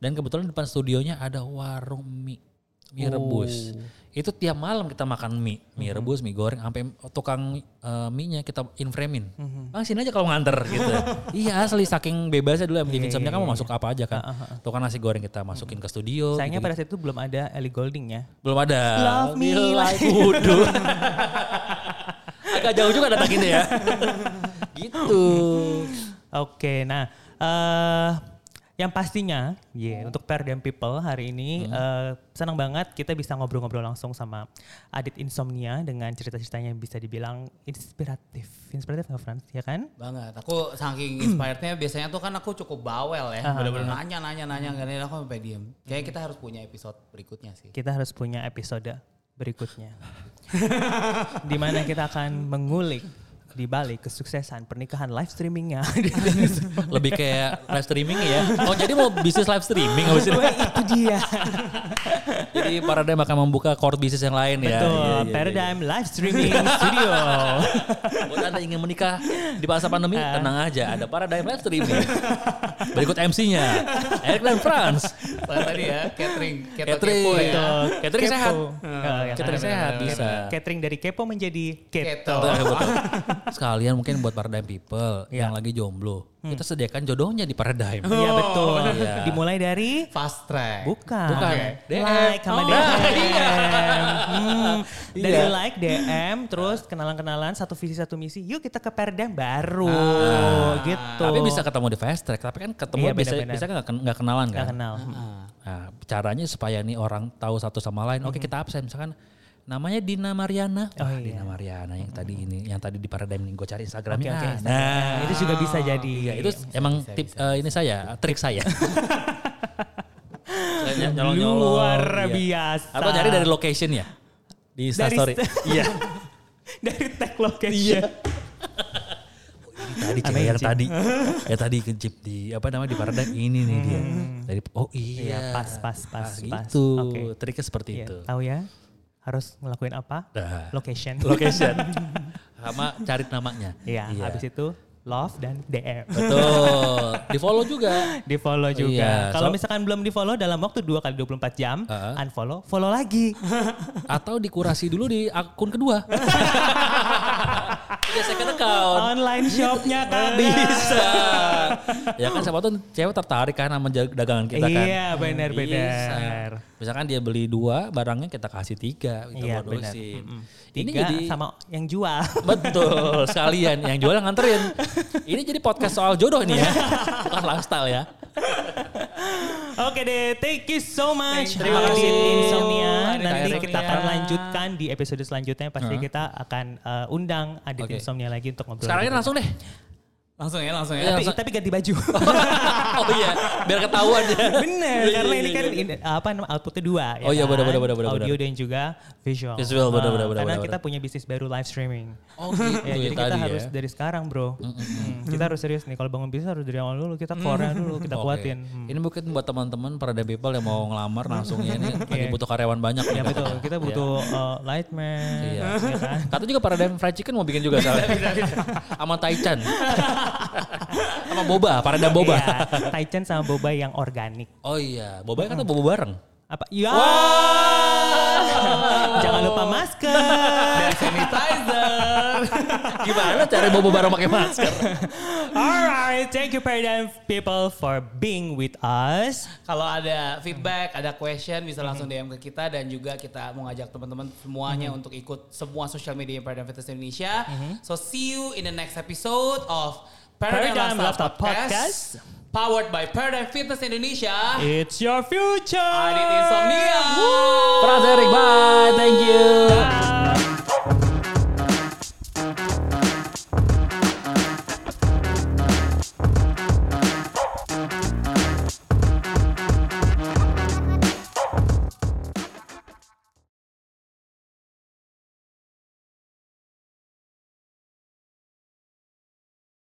[SPEAKER 3] Dan kebetulan di depan studionya ada warung mie
[SPEAKER 2] Oh.
[SPEAKER 3] mie rebus. Itu tiap malam kita makan mie, mie
[SPEAKER 2] Mhm.
[SPEAKER 3] rebus, mie goreng sampai tukang eh, mie-nya kita inframin.
[SPEAKER 2] Mhm.
[SPEAKER 3] Bang sini aja kalau nganter gitu. iya asli saking bebasnya dulu MTV Insomnia kamu masuk apa aja kan. Tukang nasi goreng kita masukin ke
[SPEAKER 2] Ah, Oh.
[SPEAKER 3] studio.
[SPEAKER 2] Sayangnya
[SPEAKER 3] gitu-gitu.
[SPEAKER 2] pada saat itu belum ada Ellie Golding ya.
[SPEAKER 3] Belum ada.
[SPEAKER 2] Love me
[SPEAKER 3] Bila
[SPEAKER 2] like-
[SPEAKER 3] wudhu. Agak jauh juga datang ya. gitu.
[SPEAKER 2] Oke, nah eh yang pastinya ya
[SPEAKER 3] Hmm.
[SPEAKER 2] untuk Per dan People hari ini eh, senang banget kita bisa ngobrol-ngobrol langsung sama Adit Insomnia dengan cerita-ceritanya yang bisa dibilang inspiratif. Inspiratif nggak Frans? Ya kan?
[SPEAKER 1] banget. Aku saking inspirednya biasanya tuh kan aku cukup bawel
[SPEAKER 2] Ah,
[SPEAKER 1] ya. Bener-bener nanya nanya nanya
[SPEAKER 2] Hmm.
[SPEAKER 1] nggak nanya, aku sampai diem. Kayaknya kita harus punya episode berikutnya sih.
[SPEAKER 2] Kita harus punya episode berikutnya. di mana kita akan mengulik di balik kesuksesan pernikahan live streamingnya.
[SPEAKER 3] Lebih kayak live streaming ya. Oh jadi mau bisnis live streaming habis ini.
[SPEAKER 2] Itu dia.
[SPEAKER 3] Jadi Paradigm akan membuka core bisnis yang lain ya.
[SPEAKER 2] Betul.
[SPEAKER 3] Iya, iya, iya.
[SPEAKER 2] Paradigm Live Streaming Studio.
[SPEAKER 3] Buat anda ingin menikah di masa pandemi,
[SPEAKER 2] Ah.
[SPEAKER 3] tenang aja. Ada Paradigm live streaming. Berikut MC-nya. Eric dan Franz.
[SPEAKER 1] Soalnya tadi ya catering, keto
[SPEAKER 3] Catering.
[SPEAKER 1] kepo ya.
[SPEAKER 3] Betul. Catering
[SPEAKER 2] Kepo.
[SPEAKER 3] sehat.
[SPEAKER 2] Eh, ya
[SPEAKER 3] Catering
[SPEAKER 2] kan?
[SPEAKER 3] sehat bisa.
[SPEAKER 2] Catering dari kepo menjadi keto.
[SPEAKER 1] Keto.
[SPEAKER 3] Betul, betul. Sekalian mungkin buat Paradigm People yang lagi jomblo,
[SPEAKER 2] Hmm.
[SPEAKER 3] kita sediakan jodohnya di Paradigm.
[SPEAKER 2] Iya betul.
[SPEAKER 3] Iya.
[SPEAKER 2] Dimulai dari
[SPEAKER 1] Fast track.
[SPEAKER 2] bukan.
[SPEAKER 3] Bukan. DM.
[SPEAKER 2] Like sama
[SPEAKER 3] Oh,
[SPEAKER 2] DM.
[SPEAKER 3] iya.
[SPEAKER 2] Hmm.
[SPEAKER 3] Iya.
[SPEAKER 2] Dari like DM terus kenalan-kenalan satu visi satu misi. Yuk kita ke Paradigm baru gitu.
[SPEAKER 3] Ah. Tapi bisa ketemu di fast track, tapi kan ketemu
[SPEAKER 2] Iya,
[SPEAKER 3] bisa
[SPEAKER 2] benar-benar.
[SPEAKER 3] bisa nggak ken- nggak kenalan kan?
[SPEAKER 2] Nggak kenal.
[SPEAKER 3] Nah, caranya supaya nih orang tahu satu sama lain. Oke, kita absen misalkan namanya Dina Mariana. Wah,
[SPEAKER 2] Hmm. iya.
[SPEAKER 3] Dina Mariana yang tadi ini, yang tadi di Paradigm ini gue cari Instagramnya.
[SPEAKER 2] Oke, oke,
[SPEAKER 3] Ah,
[SPEAKER 2] Instagram.
[SPEAKER 3] Nah,
[SPEAKER 2] itu juga bisa jadi.
[SPEAKER 3] iya, itu emang tip eh, ini saya, trik saya. Saya nyolong-nyolong,
[SPEAKER 2] Luar
[SPEAKER 3] iya.
[SPEAKER 2] biasa.
[SPEAKER 3] Atau nyari dari location ya?
[SPEAKER 2] Dari
[SPEAKER 3] Di Instastory.
[SPEAKER 2] st-
[SPEAKER 3] iya.
[SPEAKER 2] dari tag location.
[SPEAKER 3] Tadi cewek yang tadi. ya tadi kejip di apa namanya di Paradigm ini nih dia. Dari oh iya.
[SPEAKER 2] Hmm. Iya, pas, pas, pas,
[SPEAKER 3] Ah,
[SPEAKER 2] pas.
[SPEAKER 3] Gitu.
[SPEAKER 2] Oke.
[SPEAKER 3] Triknya seperti
[SPEAKER 2] Iya,
[SPEAKER 3] itu.
[SPEAKER 2] Tahu ya? Harus ngelakuin apa?
[SPEAKER 3] Nah.
[SPEAKER 2] Location.
[SPEAKER 3] Location. Sama cari namanya.
[SPEAKER 2] Iya, habis itu love dan DM.
[SPEAKER 3] Betul. Di follow juga.
[SPEAKER 2] Di follow juga.
[SPEAKER 3] Iya,
[SPEAKER 2] Kalau
[SPEAKER 3] so-
[SPEAKER 2] misalkan belum di follow dalam waktu 2 kali 24 jam,
[SPEAKER 3] Uh-uh.
[SPEAKER 2] unfollow, follow lagi.
[SPEAKER 3] Atau dikurasi dulu di akun kedua. Iya second account.
[SPEAKER 2] Online shopnya tadi.
[SPEAKER 3] Bisa. ya kan siapa tuh cewek tertarik kan sama jag- dagangan kita kan.
[SPEAKER 2] Iya, benar,
[SPEAKER 3] Bisa.
[SPEAKER 2] benar.
[SPEAKER 3] Misalkan dia beli dua, barangnya kita kasih tiga. Kita
[SPEAKER 2] Iya, benar.
[SPEAKER 3] bodosin. Ini
[SPEAKER 2] Tiga
[SPEAKER 3] jadi
[SPEAKER 2] sama yang jual.
[SPEAKER 3] Betul, sekalian yang jualan nganterin. Ini jadi podcast soal jodoh nih ya. Bukan lifestyle ya.
[SPEAKER 2] Oke deh, thank you so much.
[SPEAKER 1] Thank
[SPEAKER 2] Terima
[SPEAKER 1] you.
[SPEAKER 2] kasih Insomnia.
[SPEAKER 1] Adit
[SPEAKER 2] Nanti
[SPEAKER 1] Insomnia.
[SPEAKER 2] kita akan lanjutkan di episode selanjutnya. Pasti kita akan eh, undang Adit
[SPEAKER 3] Oke.
[SPEAKER 2] Insomnia lagi untuk ngobrol.
[SPEAKER 3] Sekarang ini langsung deh.
[SPEAKER 1] Langsung ya, langsung
[SPEAKER 3] Iya.
[SPEAKER 1] ya.
[SPEAKER 2] tapi, tapi ganti baju.
[SPEAKER 3] oh iya, biar ketahuan ya.
[SPEAKER 2] Bener, karena ini kan in- apa namanya outputnya dua.
[SPEAKER 3] iya, Oh iya,
[SPEAKER 2] kan?
[SPEAKER 3] bener, bener, bener, bener,
[SPEAKER 2] Audio dan juga visual.
[SPEAKER 3] Visual, bener,
[SPEAKER 2] Ah,
[SPEAKER 3] bener, bener,
[SPEAKER 2] Karena
[SPEAKER 3] bener.
[SPEAKER 2] kita punya bisnis baru live streaming.
[SPEAKER 3] Oh gitu
[SPEAKER 2] Ya, jadi
[SPEAKER 3] ya
[SPEAKER 2] kita
[SPEAKER 3] tadi
[SPEAKER 2] harus
[SPEAKER 3] ya.
[SPEAKER 2] dari sekarang bro. Hmm, Kita harus serius nih. Kalau bangun bisnis harus dari awal dulu. Kita korea dulu, kita
[SPEAKER 3] Mm. Oke.
[SPEAKER 2] kuatin. Hmm.
[SPEAKER 3] Ini mungkin buat teman-teman para dev people yang mau ngelamar langsung ya ini lagi butuh karyawan banyak.
[SPEAKER 2] Ya
[SPEAKER 3] nih.
[SPEAKER 2] betul. Kita butuh uh, lightman.
[SPEAKER 3] Iya.
[SPEAKER 2] ya kan?
[SPEAKER 3] Kata juga para dev fried chicken mau bikin juga soalnya. Sama Taichan. Sama boba, para dev boba.
[SPEAKER 2] Iya, Taichan sama boba yang organik.
[SPEAKER 3] Oh iya, boba kan boba bareng.
[SPEAKER 2] Apa? Ya. Jangan lupa masker.
[SPEAKER 1] Sanitizer.
[SPEAKER 3] Gimana cara boba bareng pakai masker?
[SPEAKER 2] Alright, thank you Paradigm people for being with us.
[SPEAKER 1] Kalau ada feedback, ada question bisa langsung DM ke kita dan juga kita mau ngajak teman-teman semuanya untuk ikut semua social media Paradigm Fitness Indonesia. So see you in the next episode of Paradigm,
[SPEAKER 2] Paradigm
[SPEAKER 1] Lifestyle
[SPEAKER 2] Lifestyle
[SPEAKER 1] Podcast, powered by Paradigm Fitness Indonesia.
[SPEAKER 2] It's your future.
[SPEAKER 1] Adit Insomnia.
[SPEAKER 3] Frans Erik, bye.